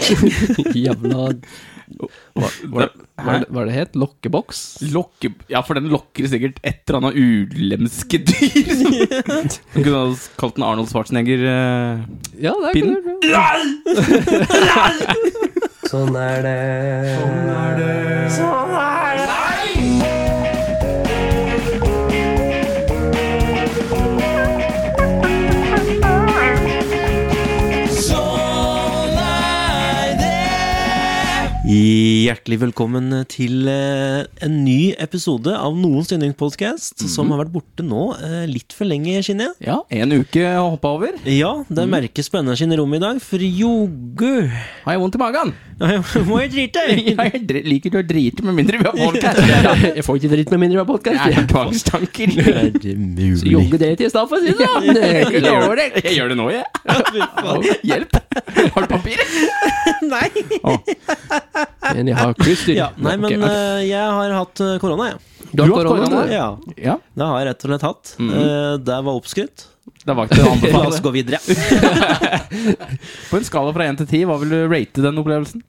Jævla Hva, hva, Hva er det- hva er det het? Lokkeboks? Lokke, ja, for den lokker sikkert et eller annet ulemske dyr. Du kunne ha kalt den Arnold Schwarzenegger. eh, Ja, det er Pinnen? klart, Sånn er det. Sånn er det. Hjertelig velkommen til eh, en ny episode av Noens yndlingspodkast, som har vært borte nå eh, litt for lenge, kjenner jeg. Ja, en uke å hoppe over. Ja, det merkes på energien i rommet i dag, for jogu Har jeg vondt i magen? Må jeg drite? Jeg dri- liker å drite med mindre vi har folk her. det. Jeg får ikke dritt med mindre vi har Det er podkast. tvangstanker. Er det mulig? Jogge det til i stedet, for å si det sånn. Det er ikke lov. Jeg gjør det nå, jeg. Hjelp! Har du papir? Nei. Men jeg har kluster. Ja, nei, men Ok, eh, jeg har hatt eh, korona, jeg. Du har korona? korona? du? Ja, Ja, det har jeg rett og slett hatt. Eh, Det var oppskrytt. det var ikke å La oss anbefale. gå videre. På en skala fra én til ti, hva vil du rate den opplevelsen?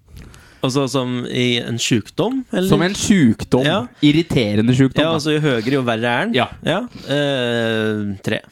Altså som i en sjukdom? Eller? Som en sjukdom. Ja. Irriterende sjukdom. Ja, da. altså jo høyere, jo verre er den. Ja. Eh, tre.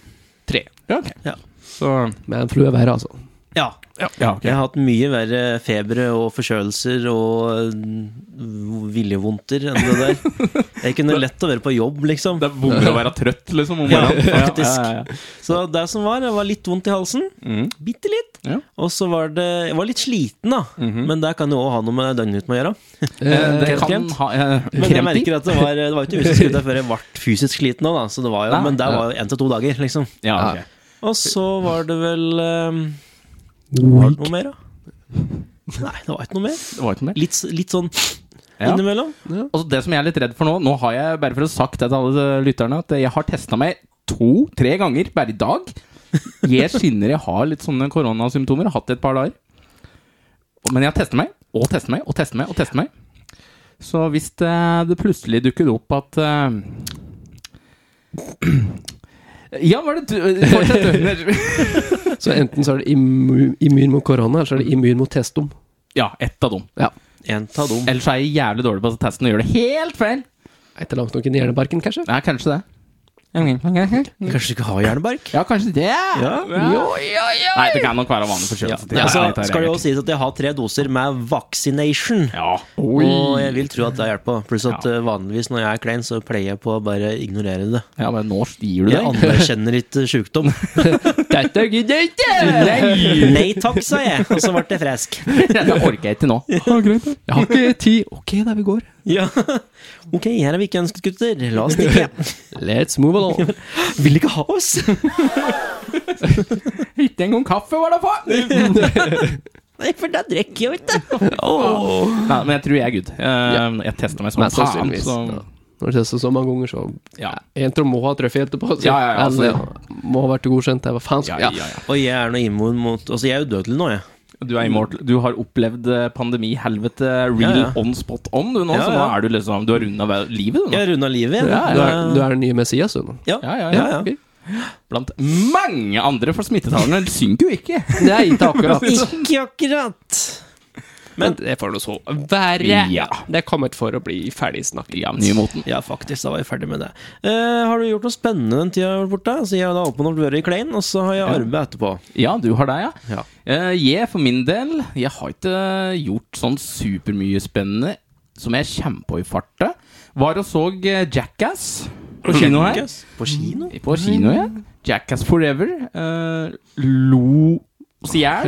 Tre. Ja, ok. Ja. Så Men flu er verre, altså. Ja. Ja, ok. Jeg har hatt mye verre febre og forkjølelser og mm, viljevondter enn det der. Jeg kunne lett å være på jobb, liksom. Det er vondere å være trøtt, liksom, om Ja, morgenen. faktisk. Så det som var, jeg var litt vondt i halsen. Mm. Bitte litt. Ja. Mhm. Og så var det Jeg var litt sliten, da. Men det kan jo òg ha noe med døgnrytme å gjøre. Eh, Det Kremt, kan kremt. ha eh, Men jeg kremt i. merker at det var, det var ikke usikkert før jeg ble fysisk sliten òg, da. Så det var jo, Nei, men det ja. var jo én til to dager, liksom. Ja, ok. Og så var det vel ehm, Var det noe mer, da? Nei, det var ikke noe mer. Det var ikke mer. Litt, s- litt sånn Ja. innimellom. Altså, det som jeg er litt redd for nå Nå har jeg bare for å ha sagt det til alle eh, lytterne at jeg har testa meg to-tre ganger bare i dag. Jeg skinner jeg har litt sånne koronasymptomer. Har hatt det et par dager. Men jeg har testet meg og testet meg og testet meg. og testet meg Så hvis det, det plutselig dukker opp at eh, Ja, hva er det du Fortsett, du. Så enten så er det immu- immun mot korona, eller så er Mm. det immun mot testom. Ja, ett av dem. Ja. En ta dum. Ellers er jeg jævlig dårlig på testen og gjør det helt feil. Etter langt nok inn i hjernebarken, kanskje? Nei, kanskje det. Ja, Kanskje du ikke har hjernebark? kanskje det. Ja. Nei, det kan nok være vanlig forkjølelse. Ja, så Det er litt av altså, skal det regelen. også sies at jeg har tre doser med vaccination. Ja. Og jeg vil tro at det hjelper. Pluss at Ja. eh, vanligvis når jeg er klein, så pleier jeg på å bare ignorere det. ja, men nå gir du Jeg deg. anerkjenner ikke sjukdom. Dette gidder jeg ikke! Nei! Nei takk, sa jeg, og så ble jeg frisk. Det orker jeg ikke nå. Jeg har ikke tid. Ok, da vi går. Ja. Ok, her er weekendens gutter. La oss stikke. Let's move along. Vil ikke ha oss! Ikke engang kaffe var det faen! Nei, for da drikker jeg jo ikke. Nei, men jeg tror jeg er good. Eh, Jeg testa meg som Mest faen. sannsynligvis. så- Ja. Når det tester så mange ganger, så Ja. En tror må ha truffet etterpå. Så. Ja, ja, ja, altså- Alle må ha vært godkjent. Det var faen Ja, som ja, ja. Og jeg er nå immun mot Altså, jeg er jo dødelig nå, jeg. Du er immortal. Du har opplevd eh, pandemi, helvete, real Ja, ja. on spot on, du nå. Ja, Så nå ja. er du liksom Du har runda livet, du nå. Jeg har runda livet igjen. Du, er, du er den nye Messias, du nå. Ja. Ja, ja, ja. Ja, ja. Ok. Blant mange andre, for smittetallene synker jo ikke. Nei, ikke akkurat. Ikke akkurat. Men det får nå så være. Ja. Det er kommet for å bli ferdig snakket. Ja, nymoten. Ja, faktisk. Da var jeg ferdig med det. Eh, har du gjort noe spennende den tida jeg har vært borte? Så jeg har da åpnet opp døra i Klein, og så har jeg arbeid etterpå. Ja, du har deg, ja. Ja. Eh, jeg, for min del, jeg har ikke gjort sånn supermye spennende som jeg kommer på i farta. Var og så eh, Jackass på kino her. På kino? Mm. På kino, ja. Jackass Forever. eh, lo oss i hjel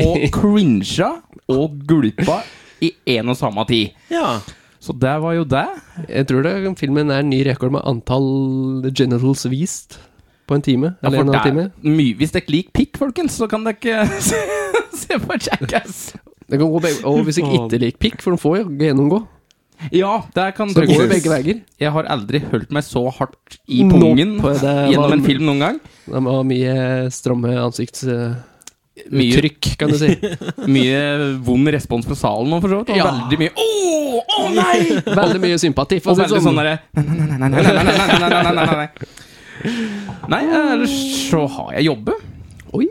og crincha og gulpa i én og samme tid. Ja. Så det var jo det. Jeg tror det, filmen er en ny rekord med antall genitals vist på en time. Ja, for Eller en det og en er halv time. mye- Hvis dere liker pikk, folkens, så kan dere se, se på Jackass. Det kan gå begge, og hvis jeg ikke liker pikk, for de får jo gjennomgå, Ja, der kan så det går jo trykkes. begge veier. Jeg har aldri holdt meg så hardt i Nå pungen på det gjennom var- en film noen gang. De har mye stramme ansiktsuttrykk, Mye, kan du si. mye vond respons fra salen nå, for så vidt. Og Ja. veldig mye 'Å, å nei!' Veldig mye sympati. For Og å si veldig det sånn sånn. derre Nei, nei, nei, nei, nei, nei, nei, nei, nei, nei, nei, nei. Nei, ellers så har jeg jobbe. Oi.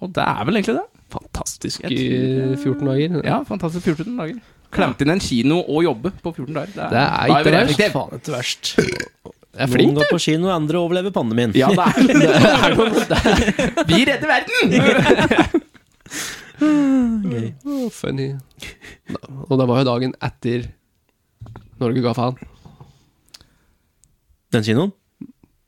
Og det er vel egentlig det. Fantastisk Jeg tror- eh, 14 dager. Ja, fantastisk 14 dager. Klemte inn en kino og jobbe på 14 dager. Det er da ikke vi verst. effektiv. Faen, ikke verst. Jeg er Noen flink, går på kino, andre overlever pandemien. Ja, det er det er noe Vi redder verden! Oh, funny. Da- Og det var jo dagen etter Norge ga faen. Den kinoen?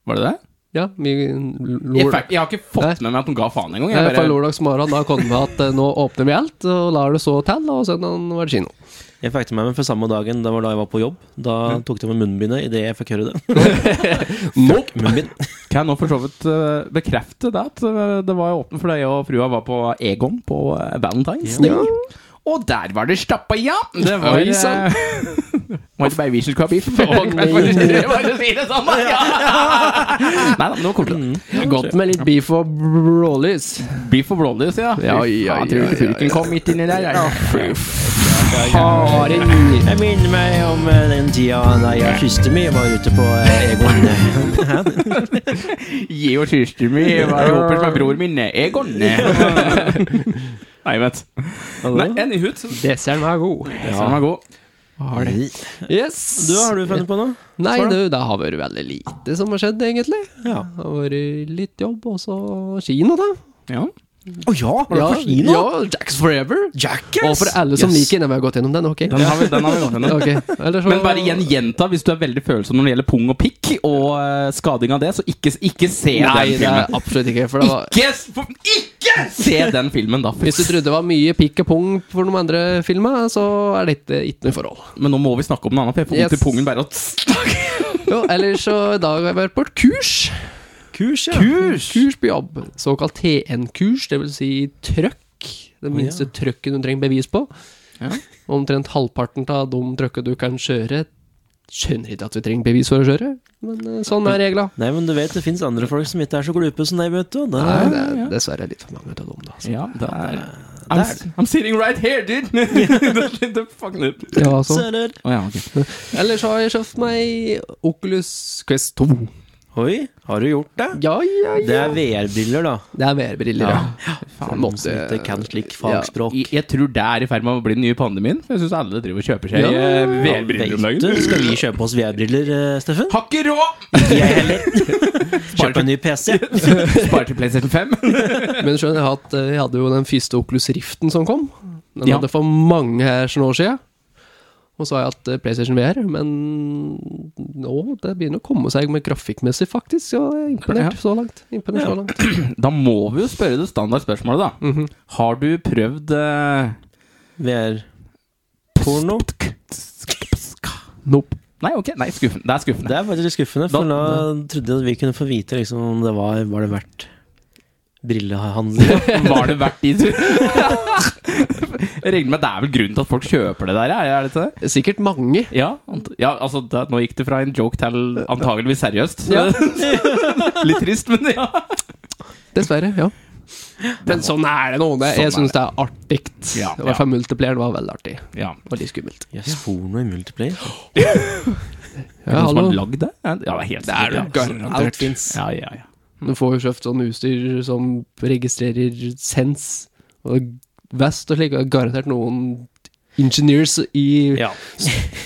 Var det det? Ja, vi Jeg, lor, fikk, jeg har ikke fått med meg at de ga faen engang. Nei, Jeg for bare Eh, lørdagsmorgen da kom det at eh, nå åpner vi alt, og lar det så til, og søndagen var det kino. Jeg fikk det med meg for samme dagen. Det var da jeg var på jobb. Da Mm. tok de med munnbindet idet jeg fikk høre det. Nope. Munnbind. kan jeg nå for så vidt eh, bekrefte det. At eh, det var åpent for deg og frua var på Egon på eh, Valentine's Day. Og der var det stappa, ja! Det var Oi, sann. eh, Var det bare vi som skulle ha biff? Og- nei. Jeg bare sier det sånn, da, ja. Nei da, men det var koselig. Mm. Godt med litt beef og brawlies. Biff og blålys, ja. Ja, ja, Faen, tror du ja, ja, Purken kom midt inni der. Ja, fy Haren. Jeg minner meg om eh, den tida da jeg kysste mi var ute på eh, Egon. Gi og søster mi hva jeg håper som er bror min Egon. Nei, vet Nei, Anyhood. Desserten var god. Den var god. Yes. Du, har du funnet på noe? Nei, Svar da. du, det har vært veldig lite som har skjedd, egentlig. Ja. Det har vært litt jobb, og så kino, da. Ja. Å ja! Var Ja, det på kino? Ja, Jacks Forever. Og Jackass! for alle som liker den, vi har gått gjennom den, ok? Den har vi, den har vi gått gjennom. Ok, ellers så- Men bare igjen gjenta hvis du er veldig følsom når det gjelder pung og pikk og eh, skading av det, så ikke, ikke se Nei, den det er filmen. absolutt ikke. For det var Ikke, s- for- ikke se den filmen, da. Hvis du trodde det var mye pikk og pung for noen andre filmer, så er dette ikke noe forhold. Men nå må vi snakke om noe annet, for jeg får vondt i Yes. pungen bare av Jo, ellers så i dag har jeg vært på et kurs. Kurs, ja. Kurs! Kurs på jobb. Såkalt TN-kurs, det vil Si trøkk. Det minste trøkken du trenger bevis på. Ja. Omtrent halvparten av de trøkkene du kan kjøre, skjønner ikke at vi trenger bevis for å kjøre. Men eh, sånn er regla. Nei, men du vet, det fins andre folk som ikke er så glupe som deg, vet du. og Da, Nei, det er dessverre litt for mange av dem, da. Så. Ja, det er I'm, I'm sitting right here, dude! Det- det- fuck it. Ja, altså. Sører. Å ja, ok. Ellers har jeg kjøpt meg Oculus Quest 2. Oi, har du gjort det? Ja, ja, Det er VR-briller, da. Det er VR-briller, ja. Faen, Måtte- Som ikke kan slik fagspråk. Jeg, jeg tror det er i ferd med å bli den nye pandemien. For jeg syns alle driver og kjøper seg Ja. eh, Vet VR-briller om du, dagen. skal vi kjøpe oss VR-briller, eh, Steffen? Har ikke råd! Jeg heller. Kjøp en ny PC. Spare til PlayStation 5. Men skjønner jeg at eh, jeg hadde jo den første Oculus Riften som kom. Ja. Den hadde for mange her sånne år siden. Og så har jeg hatt eh, PlayStation VR, men nå det begynner å komme seg med grafikkmessig, faktisk. Så jeg er imponert så langt. Imponert så langt. Da må vi jo spørre det standardspørsmålet, da. Mhm. Har du prøvd eh, VR-porno. Nope. Nei, ok. Nei, skuffen. Det er skuffende. Det er faktisk litt skuffende, for da, trodde jeg at vi kunne få vite liksom, om det var, var det verdt brillehandel. Var det verdt de tur? Jeg regner med at det er vel grunnen til at folk kjøper det der, er det ikke det? Sikkert mange. Ja, ant- ja altså det, nå gikk det fra en joke til antageligvis seriøst. Så Ja. Litt trist, men ja. Dessverre, ja. Men sånn er det nå. Det, Sånn er jeg syns det er artig. Ja, I hvert fall multiplayeren var veldig artig. ja. Og litt skummelt. Jøs, porno i multiplayer. Ja, Noen som har hallo. lagd det? Ja, det er helt Det er sikkert, det ja. garantert. Ja, ja, ja. Du får jo kjøpt sånn utstyr som registrerer sens og vest og slik. og Det er garantert noen engineers i Ja.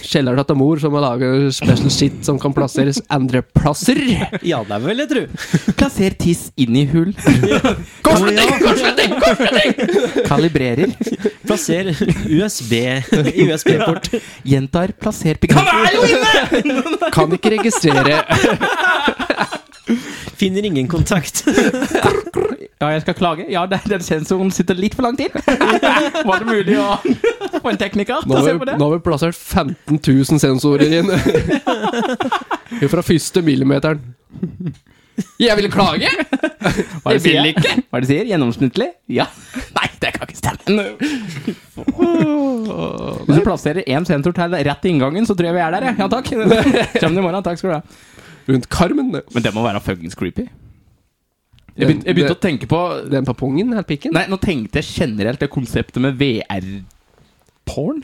kjelleren til mor som har laget special shit som kan plasseres andre plasser. ja, det er vel, jeg tror. Plasser tiss inn i hull. Korsflytting, korsflytting, korsflytting! Kalibrerer. Plasser USB i USB-port. Gjentar. Plasser pikant. Kan ikke registrere Finner ingen kontakt. Ja, jeg skal klage. Ja, den, den sensoren sitter litt for langt inn. Var det mulig å få en tekniker Nå til å har se vi, på det? nå har vi plassert 15 000 sensorer inn. Fra første millimeteren. Jeg vil klage! Hva er det Jeg vil sier? Hva er det sier? Gjennomsnittlig? Ja. Nei, det kan ikke stemme. Hvis du plasserer én sensor til rett i inngangen, så tror jeg vi er der, jeg. Ja, takk. Kjem i morgen. Takk skal du ha. Rundt karmen. det. Men det må være fuckings creepy. Jeg begynte, jeg begynte å tenke på Den på pungen, her pikken. Nei, nå tenkte jeg generelt det konseptet med VR-porn.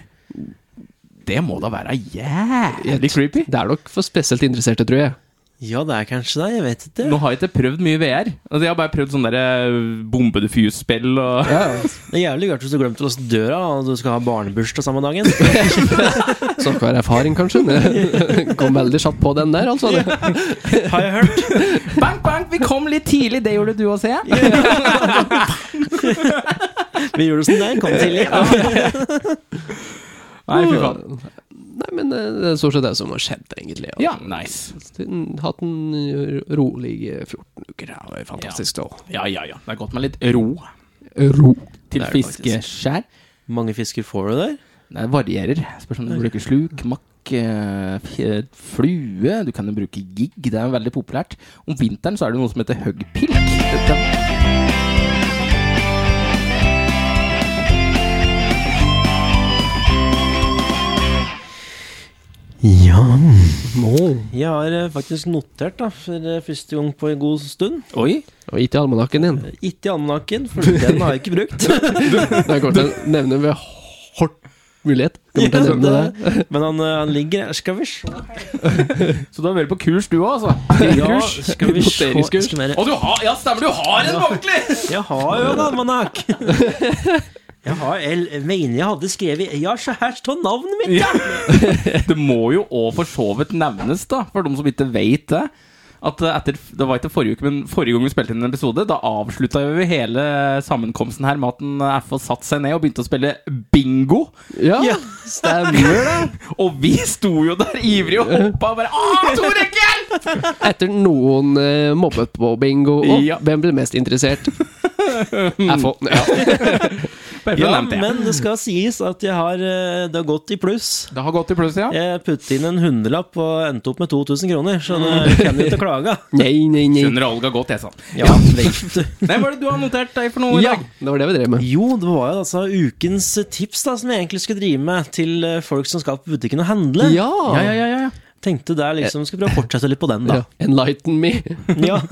Det må da være jævlig creepy. Det er nok for spesielt interesserte, tror jeg. Ja, det er kanskje det. Jeg vet ikke. Nå har jeg ikke prøvd mye VR. Altså, jeg har bare prøvd sånne der eh, bombe defuse-spill og Det er jævlig gørt hvis du glemte å låse døra, og du skal ha barnebursdag samme dagen. Snakker av erfaring, kanskje. Kom veldig kjapt på den der, altså. Det. Har jeg hørt. Bank, bank, vi kom litt tidlig! Det gjorde du også, jeg. Vi gjorde sånn der. Kom tidlig. Nei, fy faen. Uh. Nei, men eh, det er stort sett det som har skjedd, egentlig. Altså, Ja, nice. Hatt en rolig eh, 14 uker. Ja, det er fantastisk, da. Ja, ja, ja. Det er godt med litt ro Ro. til Det er det fiskeskjær. Mange fisker får du der. Det varierer. Spørs om du bruker sluk, makk, eh, f- flue. Du kan jo bruke gig. Det er veldig populært. Om vinteren så er det noe som heter høggpilk. Dette- Ja. Jeg har eh, faktisk notert da, for eh, første gang på en god stund. Oi! Og ikke almanakken din. Ikke i almanakken, for den har jeg ikke brukt. Det kommer til å nevne ved hardt mulighet. Kommer til å nevne det. Men han, eh, han ligger her. Skal vi se Så du har vært på kurs, du òg, altså? Ja, skal vi se Noteringskurs. Skal vi være- Å, du har, ja, stemmer, du har en ordentlig! Jeg har jo en almanakk. Jeg har el, mener jeg hadde skrevet Ja, så her står navnet mitt! Ja. Det må jo òg for så vidt nevnes, da, for de som ikke veit det. At eh, etter, det var ikke forrige uke, men forrige gang vi spilte inn en episode, da avslutta vi hele sammenkomsten her med at en eh, FH satte seg ned og begynte å spille bingo. Ja, Ja. stemmer det. Og vi sto jo der ivrige og hoppa og bare Å, Tore, hjelp! Etter noen eh, mobbet på bingo. Og Ja. hvem ble mest interessert? FH. Ja. Bare for å Ja, nevne det. men det skal sies at jeg har eh, Det har gått i pluss. Det har gått i pluss, ja. Jeg puttet inn en hundrelapp og endte opp med 2000 kroner, så du kan jo ikke klage. Nei, nei, nei. Skjønner Olga godt, jeg, sånn. Ja, vet du. Nei, hva er det du har notert deg for noe i Ja, dag? det var det vi drev med. Jo, det var jo altså ukens tips da som jeg egentlig skulle drive med til eh, folk som skal på butikken og handle. Ja. ja, ja. Tenkte der liksom skal prøve å fortsette litt på den, da. Ja, Enlighten me. Ja,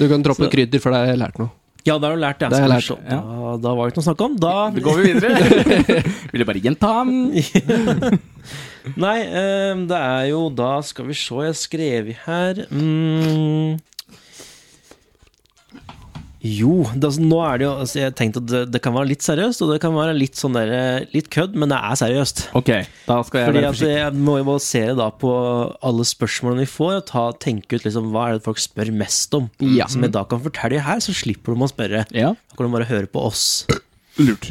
Du kan droppe krydder, for det har jeg lært noe. ja det har du lært, ja. Det har jeg Skal vi lært, se. Da, da var det ikke noe å snakke om. Da Da går vi videre. Ville bare gjenta Nei, eh, det er jo da Skal vi se, jeg skrev i her mm. Jo, det, altså, nå er det jo altså, Jeg tenkte at det, det kan være litt seriøst, og det kan være litt sånn der, eh, Litt kødd, men det er seriøst. Ok, da skal jeg Fordi være at forsiktig. jeg må jo basere da på alle spørsmålene vi får, og ta, tenke ut liksom, hva er det folk spør mest om. Ja. Som jeg da kan fortelle her, så slipper de å spørre. Ja. Da kan de bare høre på oss. Lurt.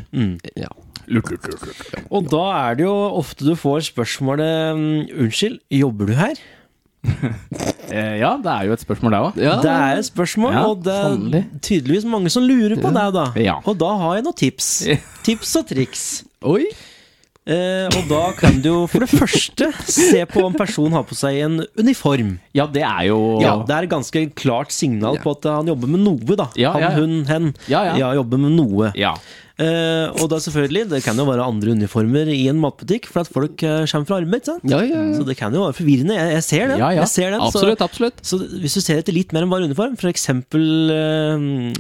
Ja. Lurt, lurt, lurt, lurt. Og da er det jo ofte du får spørsmålet mm, Unnskyld, jobber du her? Eh, ja, det er jo et spørsmål der òg. ja. Det er et spørsmål, Ja, og det er sannelig. tydeligvis mange som lurer på det, da. Ja. Og da har jeg noen tips. Ja. Tips og triks. Oi. Eh, og da kan du jo for det første se på om personen har på seg en uniform. Ja, det er jo Ja, Det er et ganske klart signal på at han jobber med noe, da. Ja, han, ja, ja. hun, hen. Ja, ja. jobber med noe. Ja. Eh, og da selvfølgelig, det kan jo være andre uniformer i en matbutikk, for at folk eh, kommer fra arbeid. sant? Ja, ja, ja. Så det kan jo være forvirrende. Jeg, jeg ser den. Ja, ja. Jeg ser den så- Absolutt, absolutt. Så hvis du ser etter litt mer enn bare uniform, f.eks.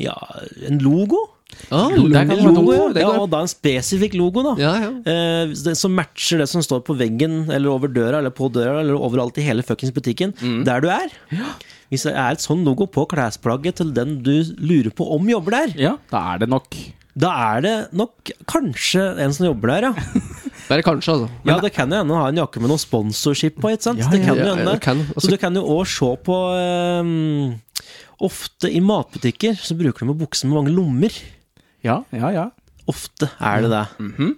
ja, en logo Ah, der kan det logo, være logo, ja, det går. Og da en spesifikk logo, da. Ja, ja. Eh, det- som matcher det som står på veggen, eller over døra, eller på døra, eller overalt i hele fuckings butikken. Der du er. Hvis det er et sånn logo på klesplagget til den du lurer på om jobber der, ja, da er det nok. da er det nok kanskje en som jobber der, ja. Bare kanskje, altså. Ja, det kan jo hende å ha en jakke med noe sponsorship på, ikke sant? det kan ja, jo ja, hende. det kan. Så du kan jo òg se på ehm, Ofte i matbutikker så bruker de jo bukser med mange lommer. Ja, ja, ja. Ofte er det det.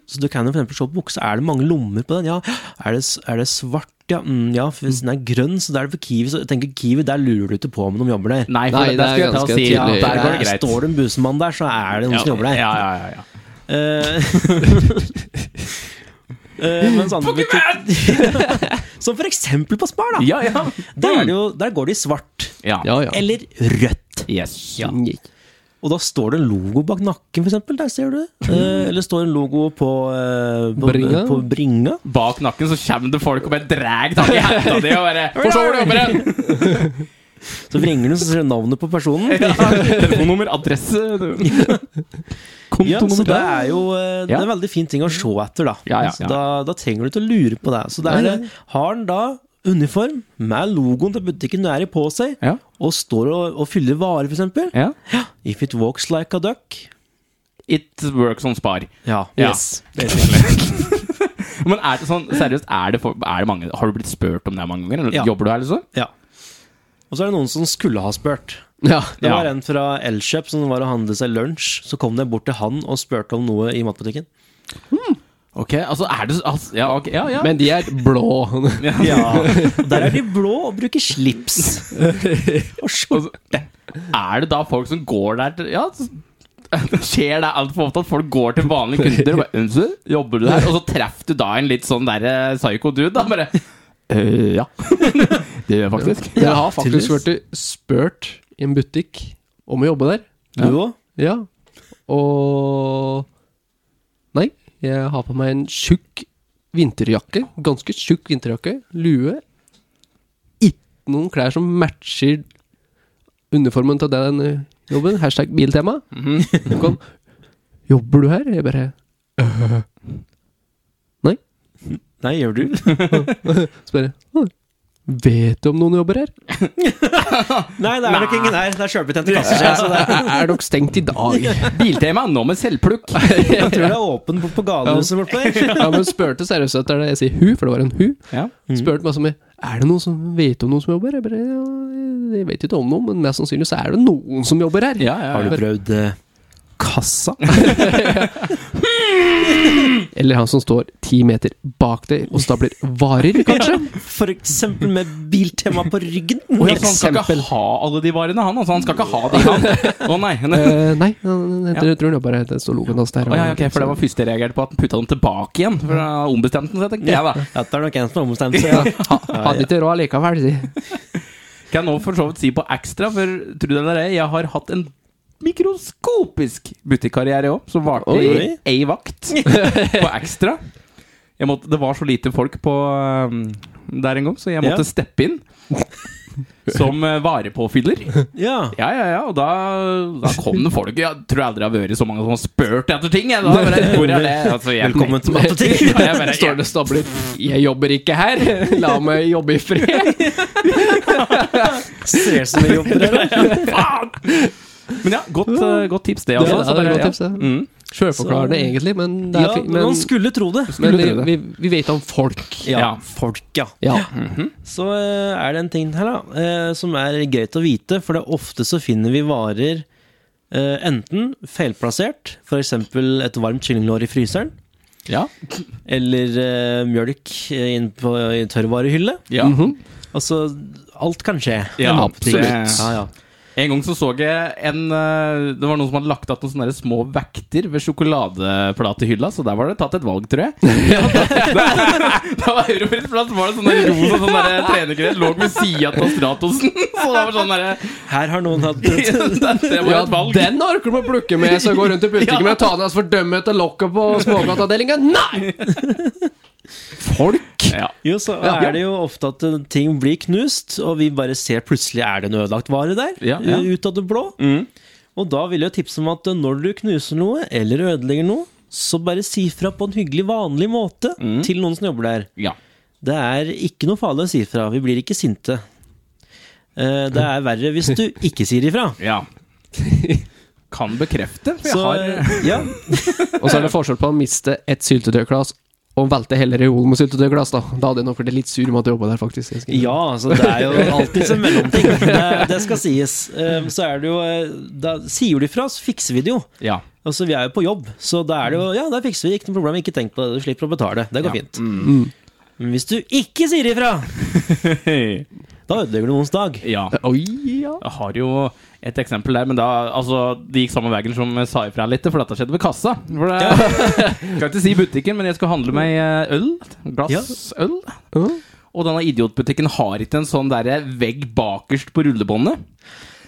Så du kan jo for eksempel se på buksa. Er det mange lommer på den? Ja. Er det, er det svart? Ja, mm, ja, for hvis den er grønn, så da er det for Kiwi. Så jeg tenker Kiwi, der lurer du ikke på om de jobber der. Nei, for Nei, det, det der skulle er jeg ta og ganske si. tydelig. Ja, der går det Der greit. Står det en busemann der, så er det noen som jobber der. Ja, ja, ja, ja. Eh, eh, mens andre butikk- Som for eksempel på Spar, da. Ja, ja. Der, er det jo, der går det i svart. ja. Ja, ja. Eller rødt. Yes. Ja. Og da står det en logo bak nakken, f.eks. Der ser du det. Mm. Eh, eller står det en logo på, eh, på Bringa. På bringa. Bak nakken så kommer det folk og bare drar tak i henda di og bare For så hvor du jobber hen! Så vrenger du, så ser du navnet på personen. Telefonnummer, adresse Ja, så Kontonummer det er jo eh, Det Ja. er en veldig fin ting å se etter, da. Ja, ja, Så ja. da, da trenger du ikke å lure på det. Så det er, Nei, nei. eh, har han da uniform med logoen til butikken du er i, på seg, Ja. og står og, og fyller varer, f.eks. Ja. Ja. If it walks like a duck It works on spar. Ja. Ja. Yes. Men er det sånn, seriøst, er det, for, er det mange Har du blitt spurt om det mange ganger? Eller Ja. Jobber du her, liksom? ja. Og så er det noen som skulle ha spurt. Ja. Det Ja. var en fra Elkjøp som var og handlet seg lunsj. Så kom de bort til han og spurte om noe i matbutikken. Ok, altså er det altså, Ja, ok, ja, ja. Men de er blå. Ja, og Der er de blå og bruker slips. Og skjorte. Altså, er det da folk som går der til- Ja, så- det skjer det altfor ofte at folk går til vanlige kunder og bare «Unnskyld, jobber du her? Og så treffer du da en litt sånn derre psycho dude, da. Bare «Øh, ja. Det gjør jeg faktisk. Dere har faktisk tydeligvis. blitt spurt i en butikk om å jobbe der. Du òg? Ja. Og Nei, jeg har på meg en tjukk vinterjakke. Ganske tjukk vinterjakke. Lue. Ikke noen klær som matcher uniformen til den eh, jobben. Hashtag biltema. Hun kom. Jobber du her? Jeg bare Nei, gjør du? spør. «Hm, Vet du om noen jobber her? Nei, det er nok ingen her. Det er sjølbetjente kasser. så jeg- Så det er, Er, er dere stengt i dag? Biltema nå med selvplukk. jeg tror det er åpen på, på gatehuset borte. Ja, men spurte seriøst etter det. Jeg sier hun, for det var en hun. Ja. Mm. Spurte meg som Er det noen som vet om noen som jobber her? Jeg bare, ja, jeg vet ikke om noen, men mest sannsynlig så er det noen som jobber her. Ja, ja, Har du ja. prøvd eh, kassa? Eller han som står ti meter bak deg og stabler varer, kanskje. For eksempel med biltema på ryggen. Å, ja, så han skal ikke Eksempel. ha alle de varene, han. Altså, han skal ikke ha de, han. Å nei. Å, Eh, nei, han heter, jeg tror han jobber her. Det står logoen hans der. ja, ok, for det var første jeg reagerte på, at han putta dem tilbake igjen. For da ombestemte han seg, tenkte jeg da. Ja, det er nok en som har ombestemt seg. Ja. Hadde ikke råd likevel, si. Kan jeg nå for så vidt si på ekstra, for tro det eller ei, jeg har hatt en mikroskopisk butikkarriere òg, som varte i Oi. ei vakt på ekstra. Jeg måtte, det var så lite folk på um, der en gang, så jeg måtte Ja. steppe inn som uh, varepåfyller. ja. Ja, ja, ja, og da, da kom det folk. Jeg tror jeg aldri har vært så mange som har spurt etter ting. Jeg, da. Bare, Hvor er det? Altså, jeg, Velkommen til matbutikk. Ja, jeg bare, Står det og stabler 'Jeg jobber ikke her, la meg jobbe i fred'. Ser ut som vi jobber her. da. Faen! Men ja, godt, uh, godt tips, det. Altså. det er Så et bare, godt tips, det. Mm. Sjølforklarende, egentlig, men det er Ja, fint. man Men, skulle tro det. men vi, tro det. vi, vi vet om folk. Ja. Folk, ja. Ja. Så eh, er det en ting her da, eh, som er greit å vite, for det er ofte så finner vi varer eh, enten feilplassert, f.eks. et varmt kyllinglår i fryseren, Ja. eller eh, mjølk inn på i tørrvarehylle. Ja. Mhm. Altså, alt kan skje. Ja, En butikk. absolutt. Ja, ja. En gang så så jeg en eh, Det var noen som hadde lagt igjen noen sånne der små vekter ved sjokoladeplatehylla, så der var det tatt et valg, tror jeg. Da var Europris plass, var det sånn der rosa sånn der trenergreier lå ved sida av Stratosen. Så det var sånn derre Her har noen hatt Det var Ja, et valg. den orker de å plukke med, så går rundt i butikken Ja. med å ta ned fordømmet og lokket på smågodtavdelingen. Nei! Folk? Ja. Jo, så Ja. er det jo ofte at eh, ting blir knust, og vi bare ser plutselig er det en ødelagt vare der, Ja, eh, ja. Mm. ut av det blå. Og da vil jeg tipse om at eh, når du knuser noe, eller ødelegger noe, så bare si fra på en hyggelig, vanlig måte Mm. til noen som jobber der. ja. Det er ikke noe farlig å si fra. Vi blir ikke sinte. Eh, Det er verre hvis du ikke sier ifra. Ja. Kan bekrefte. For jeg Så har eh, ja, Og så er det forskjell på å miste et syltetøyglass og velte heller reolen med syltetøyglass, da. Da hadde jeg nok vært litt sur med at jeg jobba der, faktisk. Jeg skal- Ja, altså det er jo alltid en mellomting. Det, det skal sies. Eh, Så er det jo eh, Da sier du ifra, så fikser vi det jo. Ja. Altså, vi er jo på jobb, så da er det jo Ja, der fikser vi det. Ikke noe problem. Ikke tenk på det. Du slipper å betale. Det går Ja. fint. Men hvis du ikke sier ifra, da ødelegger du noens dag. ja. Oi, ja. Jeg har jo et eksempel der, men da altså, det gikk samme veien som jeg sa ifra litt, for dette skjedde ved kassa. For det, skal ikke si butikken, men jeg skulle handle meg eh, øl. Glass øl. Mhm. Og denne idiotbutikken har ikke en sånn derre vegg bakerst på rullebåndet.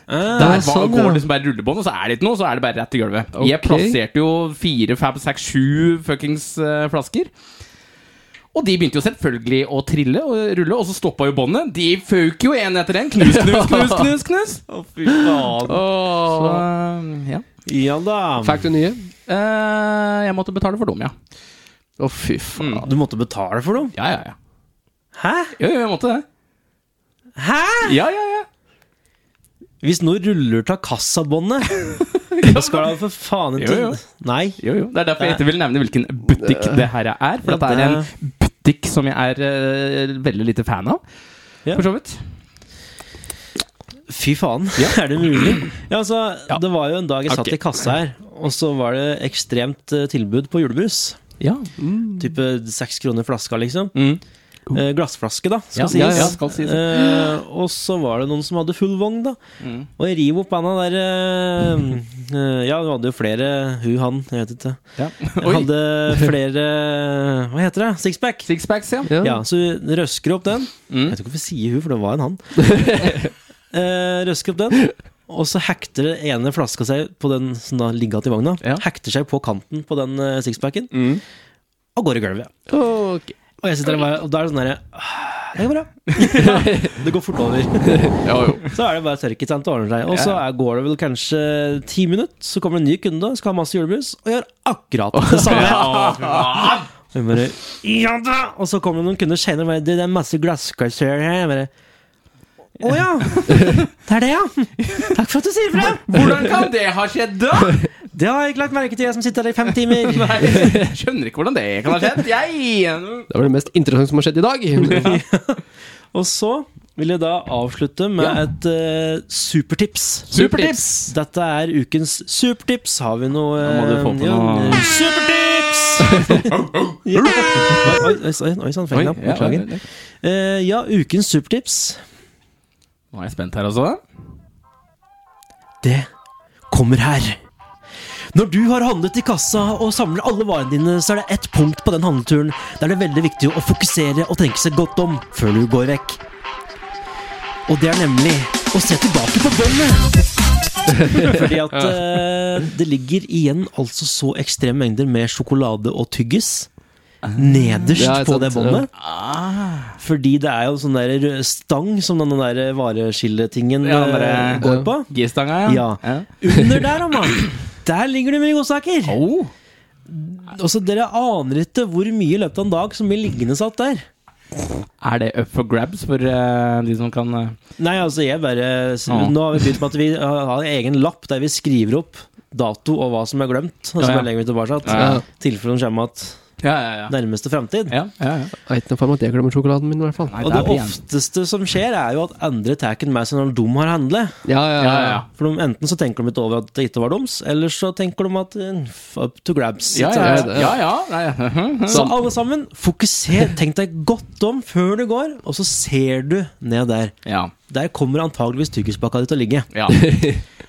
Eh, Der var, sånn, ja. går liksom bare rullebånd, og så er det ikke noe, så er det bare rett i gulvet. Jeg Ok. plasserte jo fire, fem, seks, sju fuckings eh, flasker. Og de begynte jo selvfølgelig å trille og rulle, og så stoppa jo båndet. De føk jo en etter en. Knus, knus, knus, knus. knus. fy faen. Så, eh, Åh. ja. Ja da. Fikk du nye? Eh, jeg måtte betale for dem, ja. Å, fy faen. Du måtte betale for dem? Ja, ja, ja. Hæ? Jo, jo, jeg måtte det. Hæ?! Ja, ja, ja. Hvis noe ruller av kassabåndet, så skal det for faen ikke Jo, jo. Nei. Jo, jo. Det er derfor jeg Det- ikke vil nevne hvilken butikk det her er. For Ja, dette er en butikk som jeg er eh, veldig lite fan av. Ja. For så vidt. Fy faen, er det mulig? Ja, altså, Ja. Det var jo en dag jeg satt Ok. i kassa her, og så var det ekstremt eh, tilbud på julebrus. Ja. Type seks kroner flaska, liksom. Mm. Eh, glassflaske, da, skal Ja, sies. ja, ja, skal sies. Eh, og så var det noen som hadde full vogn, da. Mm. Og jeg river opp handa der eh, eh, Ja, du hadde jo flere hun, han, jeg vet ikke. Ja. Jeg Oi. hadde flere Hva heter det? Sixpack? Sixpacks, ja. Ja. Ja, så hun røsker opp den. Jeg Mm. vet ikke hvorfor jeg sier hun, for det var en han. Eh, røsker opp den, og så hekter det ene flaska seg på den som da ligger igjen i vogna. Ja. Hekter seg på kanten på den eh, sixpacken Mm. og går i gulvet. Ok. Og jeg sitter der bare, og da er det sånn derre «Ah, Det går bra. det går fort over. Ja, jo. Så er det bare tørk, ikke sant, det ordner seg. Og så er, går det vel kanskje ti minutter, så kommer det en ny kunde, skal ha masse julebrus, og gjør akkurat det samme. Og jeg bare, ja da! Og så kommer det noen kunder senere og bare «Du, Det er masse glasskarser her. Jeg bare Å ja! Det er det, ja! Takk for at du sier fra! Hvordan kan det ha skjedd, da? Det har jeg ikke lagt merke til, jeg som sitter her i fem timer. Nei, jeg skjønner ikke hvordan det kan ha skjedd. Jeg Det var det mest interessante som har skjedd i dag. Og så vil jeg da avslutte med et eh, supertips. Supertips! Dette er ukens supertips. Har vi noe Da må du få på eh, noe- ja, Supertips! ja. Oi, oi, oi, oi, oi sann, feil knapp. ja, Beklager. oi, oi. Eh, ja, ukens supertips, Nå er jeg spent her også. det kommer her. Når du har handlet i kassa og samler alle varene dine, så er det ett punkt på den handleturen der det er veldig viktig å fokusere og tenke seg godt om før du går vekk. Og det er nemlig å se tilbake på bøndene! Fordi at eh, det ligger igjen altså så ekstreme mengder med sjokolade og tyggis nederst Ja, ikke på sant, det båndet. Fordi det er jo sånn der rød stang som den der vareskilletingen Ja, den eh, der- går på. G-stanga, Ja. Under der, da, mann! Der ligger det mye godsaker! Oh. Altså, dere aner ikke hvor mye i løpet av en dag som blir liggende satt der. Er det up for grabs for eh, de som kan eh, Nei, altså, jeg bare Ja. Nå har vi begynt med at vi har en egen lapp der vi skriver opp dato og hva som er glemt. Og så Ja, ja. bare legger vi tilbake at Ja, ja. tilfelle de kommer att Ja, ja, ja. nærmeste fremtid. ja, ja, ja. Veit nå faen meg at jeg glemmer sjokoladen min, i hvert fall. Nei, Og der det blir jeg- ofteste som skjer, er jo at andre tar den med seg når de har handlet. Ja, ja, Ja, ja. ja, ja. For de, enten så tenker de ikke over at det ikke var deres, eller så tenker de at eh, up to grabs. Ja, ja, ja, ja, ja, ja. Nei, Så alle sammen, fokuser, tenk deg godt om før du går, og så ser du ned der. ja, Der kommer antageligvis tyggispakka di til å ligge. ja.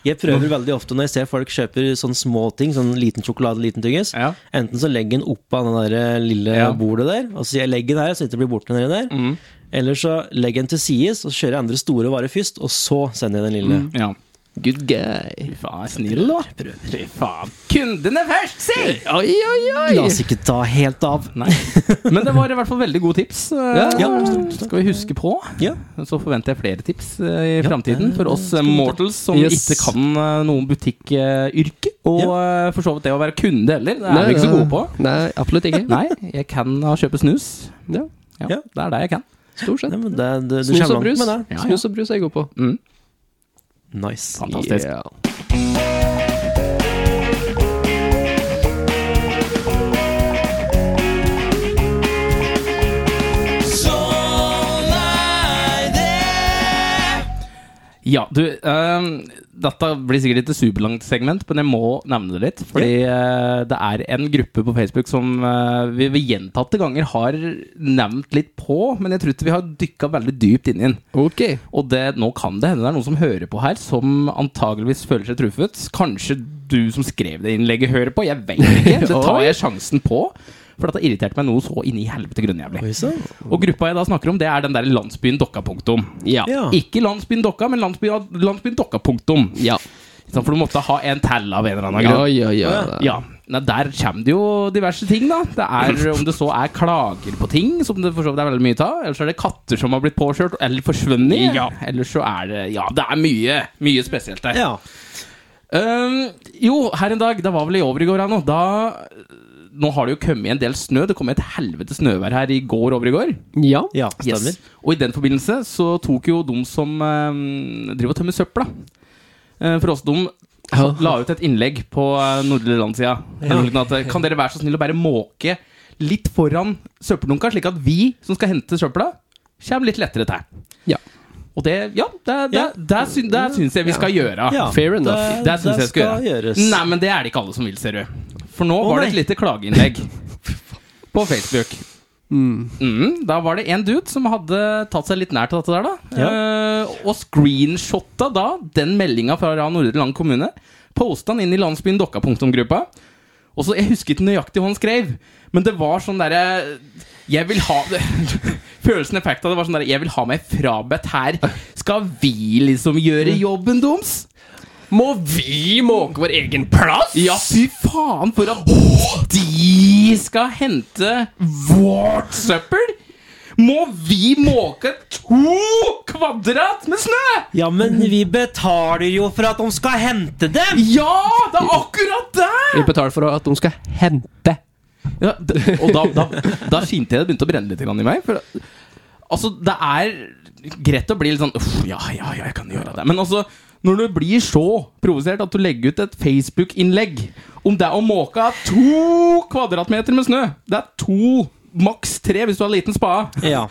Jeg prøver veldig ofte når jeg ser folk kjøper sånne små ting, sånn liten sjokolade, liten tyggis. ja. Enten så legger jeg den oppå det der eh, lille Ja. bordet der, og så sier jeg legg den her, så ikke det blir borte nedi der. Mm. Eller så legger jeg den til sides, og så kjører jeg andre store varer først, og så sender jeg den lille. ja. Good guy. Fy faen, jeg er snill, da. Fy faen. Kundene først, si! Oi, oi, La oi! oss ikke ta helt av. Nei. Men det var i hvert fall veldig gode tips. eh, Ja. Skal vi huske på. Ja. Så forventer jeg flere tips eh, i Ja, framtiden det for oss eh, mortals som Yes. ikke kan eh, noen butikkyrke. Og eh, for så vidt det å være kunde heller. Det er vi ikke så gode på. Nei, absolutt ikke. Nei, jeg kan ha kjøpe snus. Ja, Ja, Ja. Det er det jeg kan. Stort Nei, sett. men det, det, du kommer Snus og langt brus. med det. Ja, ja. Snus og brus er jeg god på. Mm. Nice. Fantastisk. Yeah. Ja, du ehm, Dette blir sikkert ikke et superlangt segment, men jeg må nevne det litt. Fordi eh, det er en gruppe på Facebook som eh, vi ved gjentatte ganger har nevnt litt på, men jeg tror ikke vi har dykka veldig dypt inn i den. Ok. Og det, nå kan det hende det er noen som hører på her, som antageligvis føler seg truffet. Kanskje du som skrev det innlegget, hører på. Jeg vet ikke. Det tar jeg sjansen på. For dette irriterte meg noe så inni helvete grunnjævlig. Oi sann. Og gruppa jeg da snakker om, det er den der landsbyen Dokka punktum. Ja. Ikke landsbyen Dokka, men landsbyen, landsbyen Dokka punktum. Ja. Ikke sant, For du måtte ha en tall av en eller annen gang. Ja, ja, ja. Ja, Nei, Der kommer det jo diverse ting, da. Det er, Om det så er klager på ting, som det for så vidt er veldig mye av. Eller så er det katter som har blitt påkjørt eller forsvunnet. Ja. Eller så er det Ja, det er mye mye spesielt der. Ja. Øhm, jo, her en dag, det var vel i over i går her nå, da nå har det jo kommet en del snø. Det kom et helvete snøvær her i går over i går. Ja. Ja, Yes. stemmer. Og i den forbindelse så tok jo de som eh, driver og tømmer søpla eh, For oss de Ja. la ut et innlegg på eh, nordre landsida. Eller noe sånt at, eh, Kan dere være så snill å bare måke litt foran søppeldunka, slik at vi som skal hente søpla, kommer litt lettere til? Ja. Og det, ja, det, det, Ja. det, syn- det syns jeg vi skal gjøre. Ja, Fair enough. Ah, Det syns jeg skal gjøre. gjøres. Nei, men det er det ikke alle som vil, ser du. For nå Å, var det et nei. lite klageinnlegg på Facebook. Mm. Mm, da var det en dude som hadde tatt seg litt nær til dette der, da. Eh, og screenshotta da den meldinga fra Nordre Land kommune. Posta den inn i landsbyen Dokka-punktum-gruppa. Og så, Jeg husker ikke nøyaktig hva han skrev, men det var sånn derre Jeg vil ha det Følelsen effekt av det var sånn derre Jeg vil ha meg frabedt her. Skal vi liksom gjøre jobben deres? Må vi måke vår egen plass? Ja, fy faen, for at de skal hente vårt søppel! Må vi måke to kvadrat med snø?! Ja, men vi betaler jo for at de skal hente dem! Ja, det er akkurat det! Vi betaler for at de skal hente. Ja, d- og da, da, da skinte jeg det begynte å brenne litt grann i meg. For, altså, det er greit å bli litt sånn Uff, ja, ja, ja, jeg kan gjøre det. Men altså, når du blir så provosert at du legger ut et Facebook-innlegg om det å måke to kvadratmeter med snø Det er to, maks tre hvis du har liten spade. Ja.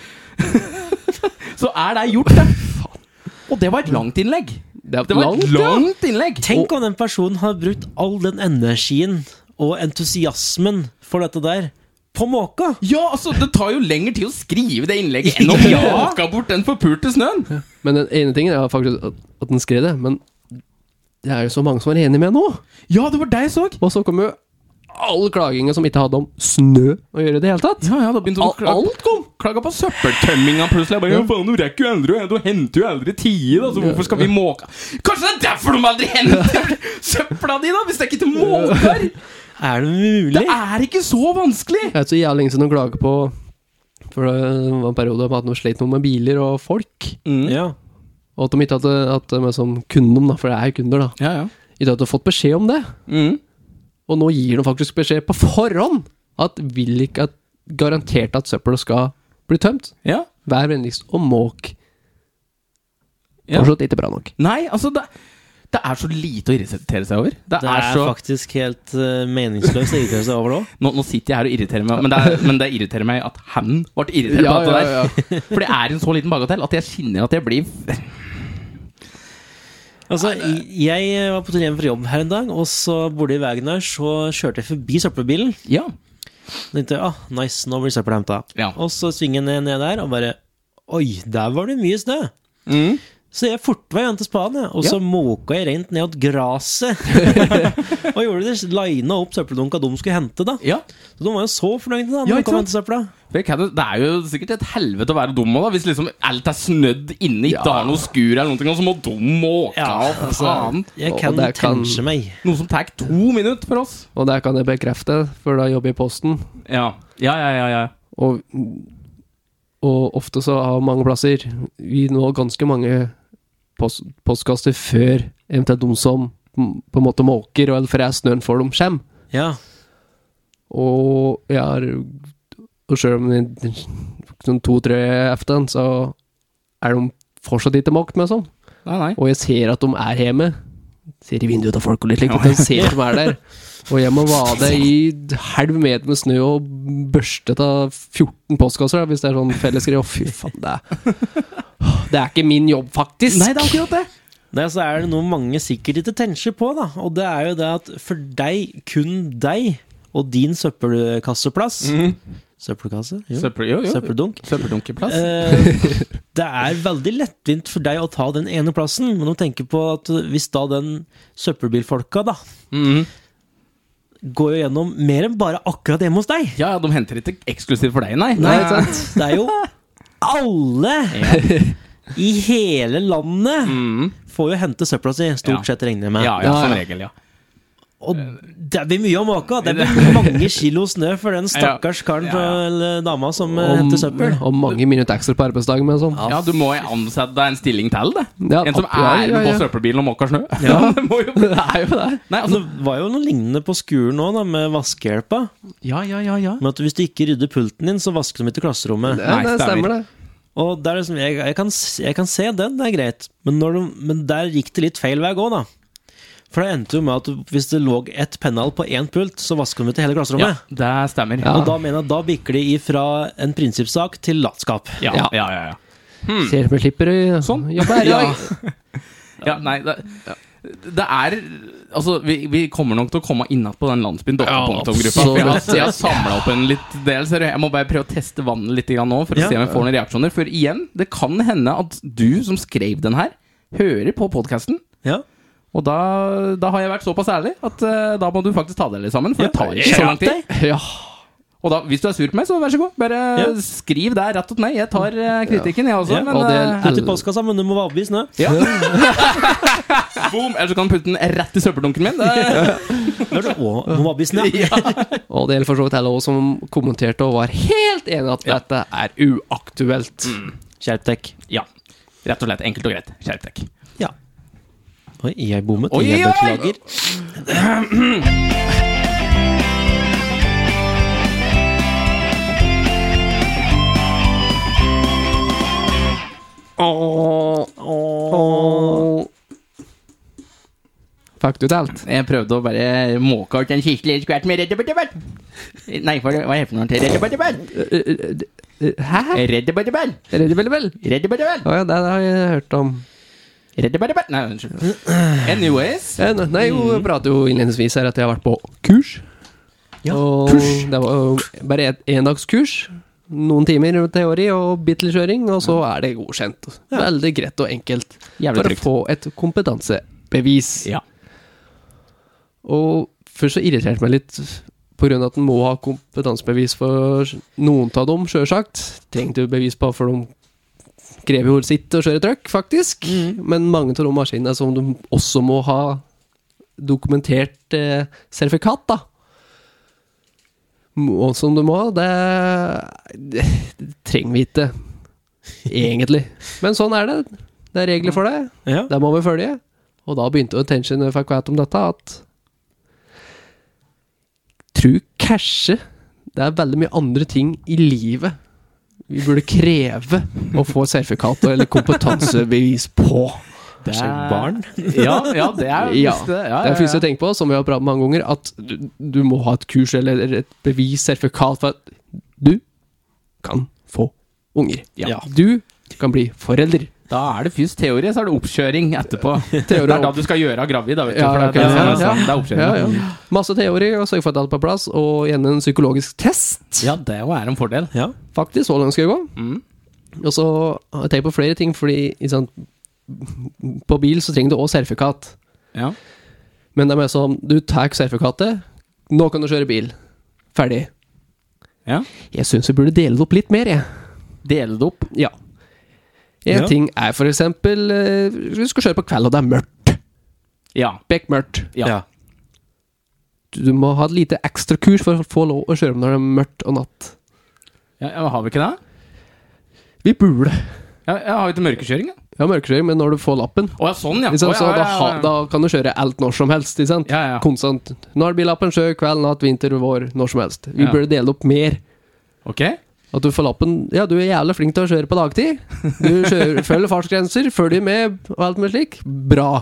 Så er det gjort, det. Og det var et langt innlegg. Det er Det var et langt, ja. langt innlegg. Tenk om den personen har brukt all den energien og entusiasmen for dette der på måka! Ja, altså, Det tar jo lengre tid å skrive det innlegget enn å måke bort den forpulte snøen. Men den ene tingen er faktisk at, at den skrev det, men det er jo så mange som er enige med nå. Ja, det var deg jeg så. Og så kom jo all klaginga som ikke hadde om snø å gjøre i det hele tatt. Ja, ja, da begynte hun å Al klage. alt kom! Klaga på søppeltømminga plutselig. Jeg bare, ja, faen, Du rekker jo aldri, du henter jo aldri tide, da, så hvorfor skal vi måke? Kanskje det er derfor de aldri henter søpla di, da, hvis det ikke til måker? Er det mulig? Det er ikke så vanskelig! Jeg vet så jævlig lenge siden å klage på For det var en periode med at de sleit noe med biler og folk. Ja. Og at de ikke hadde at de er sånn kunder, da, for det er jo kunder, da. Ja, ja. Ikke hadde fått beskjed om det. Mm. Og nå gir de faktisk beskjed på forhånd at vil ikke at garantert at søpla skal bli tømt. ja. Vær vennligst og måk. Ja. Fortsatt ikke bra nok. Nei, altså, det, det er så lite å irritere seg over. Det Det er er så faktisk helt eh, meningsløst å irritere seg over det òg. nå, nå sitter jeg her og irriterer meg, men det, er, men det irriterer meg at han ble irritert på Ja, alt det ja, der. For det er en så liten bagatell at jeg kjenner at jeg blir Altså, jeg var på tur hjem fra jobb her en dag, og så borte i veien der så kjørte jeg forbi søppelbilen. Ja. tenkte jeg, ah, nice, nå blir søpla henta. Ja. Og så svinger jeg ned, ned der, og bare Oi, der var det mye snø! Mm. Så jeg forta meg igjen til spaden, jeg, og så måka jeg rent ned til gresset. og gjorde det lina opp søppeldunka de skulle hente, da. ja. Så de var jo så fornøyde da, når Ja, de ikke kom og sant? hentet søpla. For jeg kan jo- Det er jo sikkert et helvete å være dum også, da, hvis liksom alt er snødd inne, ikke har noe skur eller noen ting, og så må dum måke Ja, og faen. Jeg Og kan det kan- tenke meg. Noe som tar to minutter for oss. Og det kan jeg bekrefte, for da jobber jeg i Posten. Ja, ja, ja. ja, ja. Og, og ofte så har mange plasser Vi nå ganske mange post, postkasser før eventuelt de som mm, på en måte måker, og eller freser snøen for de kommer. Ja. Og jeg har Og selv om det er sånn to-tre efter den, så er de fortsatt ikke måkt med sånn. Nei, nei. Og jeg ser at de er hjemme. Ser i vinduet av folk og litt slikt. at Jeg ser at de er der. Og jeg må vade i halv meter med snø og børste av 14 postkasser, da, hvis det er sånn fellesgreie. Å, fy faen, det er Det er ikke min jobb, faktisk. Nei, det er akkurat det. Nei, så er det noe mange sikkert ikke tenker på, da. Og det er jo det at for deg, kun deg, og din søppelkasseplass Mhm. Søppelkasse? Jo. Mm. Søppel, jo, jo. Søppeldunk. Søppeldunkeplass. Eh, det er veldig lettvint for deg å ta den ene plassen, men å tenke på at hvis da den søppelbilfolka da Mhm. går jo gjennom mer enn bare akkurat hjemme hos deg Ja, ja, de henter ikke eksklusivt for deg, nei. Nei, Nei. ikke sant? Det er jo alle i hele landet Mhm. får jo hente søpla si, Ja. stort sett, regner jeg med. Ja, ja, Ja, som ja. regel, ja. Og det blir mye å måke. av. Det blir mange kilo snø for den stakkars karen Ja, ja. eller dama som eh, Og, henter søppel. og mange minutter ekstra på arbeidsdagen med sånn. Ja, du må jo ansette deg en stilling til, det. Ja, en som opp- ja, er ja, på ja. søppelbilen og måker snø. Ja. det må jo Det er jo det. Nei, Altså, altså det var jo noe lignende på skolen òg, med vaskehjelpa. Ja, ja, ja, ja. Men at hvis du ikke rydder pulten din, så vasker de ikke klasserommet. Ja, det stemmer, det. Og det er liksom, jeg, jeg, kan, s- jeg kan se den, det er greit. Men, når du, men der gikk det litt feil vei å gå, da. For det endte jo med at du- hvis det lå ett pennal på én pult, så vasker de ut i hele ja klasserommet. det stemmer. Ja. Og da mener jeg at da bikker det ifra en prinsippsak til latskap. Ja, ja, ja, ja, ja. Ser du med slipper i Mm. Sånn. Ja, bare, Ja. ja. Ja, nei, det, det er Altså, vi, vi kommer nok til å komme innatt på den landsbyen Ja, Dotterpongtom-gruppa. for jeg har, jeg har samla opp en litt del, ser du. Jeg må bare prøve å teste vannet litt grann nå, for å Ja. se om jeg får noen reaksjoner. For igjen, det kan hende at du som skrev den her, hører på podkasten. Ja. Og da, da har jeg vært såpass ærlig at eh, da må du faktisk ta deg litt sammen. For Ja, det tar jeg ikke så lang hjelper tid. ja. Og da, hvis du er sur på meg, så vær så god. Bare eh, Ja. skriv der rett og slett. Jeg tar eh, kritikken, jeg også. Ja, Men, og det- eh, Ut i postkassa, men du må være overbevist nå. ja. Boom! Eller så kan du putte den rett i søppeldunken min. Det, Nå er du å- du må være overbevist nå. ja. Og det gjelder for så vidt alle også som kommenterte og var helt enig i at dette er uaktuelt. Mm. Skjerp deg. ja. Rett og slett. Enkelt og greit. Skjerp deg. Ja. Oi, jeg bommet. Oi, jeg oi, oi! beklager. Fikk du telt? Jeg prøvde å bare måke ut en siste lille skvert med Red Bull Bull. Nei, for, hva heter den? Red Bull Bull? Hæ? Red Bull Bull? Er det vel vel? Red Bull Bull? Å ja, det har jeg hørt om. Red Bull Bull? Nei, unnskyld. Anyways. Ja, ne- Eh, Nei, jo, Mm. jeg pratet jo innledningsvis her at jeg har vært på kurs. Ja, og det var jo bare et endagskurs. Noen timer teori og bitte litt kjøring, og så er det godkjent. Veldig greit og enkelt. Jævlig for trygt. å få et kompetansebevis. Ja. Og først så irriterte det meg litt på grunn av at en må ha kompetansebevis for noen av dem, sjølsagt. Trengte jo bevis på, for de krever jo sitt og kjører trøkk, faktisk. Mm. Men mange av de maskinene som de også må ha dokumentert eh, sertifikat, da. Må, som du må, ha, det, det, det trenger vi ikke, egentlig. Men sånn er det. Det er regler for det. Ja. Det må vi følge. Og da begynte attention når jeg fikk vite om dette, at Tru kanskje det er veldig mye andre ting i livet vi burde kreve å få sertifikat eller kompetansebevis på. Det Skjerp barn. Ja, ja, det er Ja, visst det. Ja, Det er ja, fysisk å tenke på, som vi har pratet mange ganger, at du, du må ha et kurs eller et bevis, sertifikat, for at du kan få unger. Ja. Du kan bli forelder. Da er det fysisk teori, så er det oppkjøring etterpå. Det Teori er da og- du skal gjøre gravid, da, vet du. Ja, for det, ok, er det, som er ja, ja. sånn, det er oppkjøring. Ja, ja. Masse teori, og sørge for at alt er på plass, og gjerne en psykologisk test. Ja, det jo er en fordel. Ja. Faktisk, så langt skal jeg gå. Mm. Og så har jeg tenkt på flere ting, fordi ikke sant, på bil så trenger du også sertifikat. Ja. Men det er mer sånn, du tar sertifikatet, nå kan du kjøre bil. Ferdig. Ja. Jeg syns vi burde dele det opp litt mer, jeg. Dele det opp. Ja. En Ja. ting er for eksempel eh, Du skal kjøre på kveld, og det er mørkt. Ja. Bekmørkt. Ja. Ja. Du må ha et lite ekstra kurs for å få lov å kjøre når det er mørkt og natt. ja. ja har vi ikke det? Vi burde Ja, ja, har vi ikke mørkekjøring, da? ha mørkekjøring, men når du får lappen Å ja, sånn, ja. Ikke Å, sant? Så ja, da, ja, ha, da kan du kjøre alt når som helst. Ikke sant? Ja, ja. Konstant. Når billappen sjø, kveld, natt, vinter, vår, når som helst. Vi Ja. burde dele opp mer. Ok. At du får lappen Ja, du er jævlig flink til å kjøre på dagtid. Du kjører, følger fartsgrenser, følger med og alt mulig slik. Bra.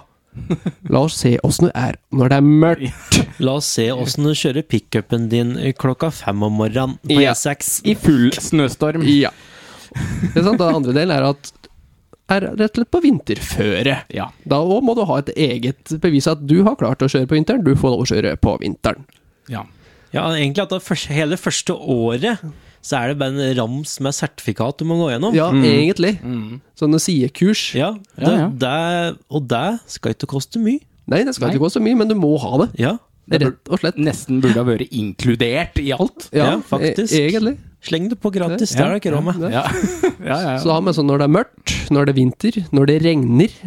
La oss se åssen det er når det er mørkt. La oss se åssen du kjører pickupen din klokka fem om morgenen på E Ja. E6. I full snøstorm. Ja. Det er sant. Den andre delen er at er rett og slett på vinterføre. Ja. Da også må du ha et eget bevis at du har klart å kjøre på vinteren. Du får lov å kjøre på vinteren. ja. Ja, egentlig at det første, hele første året så er det bare en rams med sertifikat du må gå gjennom. Ja, egentlig. Sånne sidekurs. Ja, det, Mm. Ja, ja. Det, og det skal ikke koste mye. Nei, det skal Nei. ikke gå så mye, men du må ha det. Ja, Rett og slett. Nesten burde ha vært inkludert i alt. Ja, faktisk. e- egentlig. Sleng det på gratis, Ja, det er det ikke råd med. Ja, ja, ja. Så da har vi sånn når det er mørkt, når det er vinter, når det regner,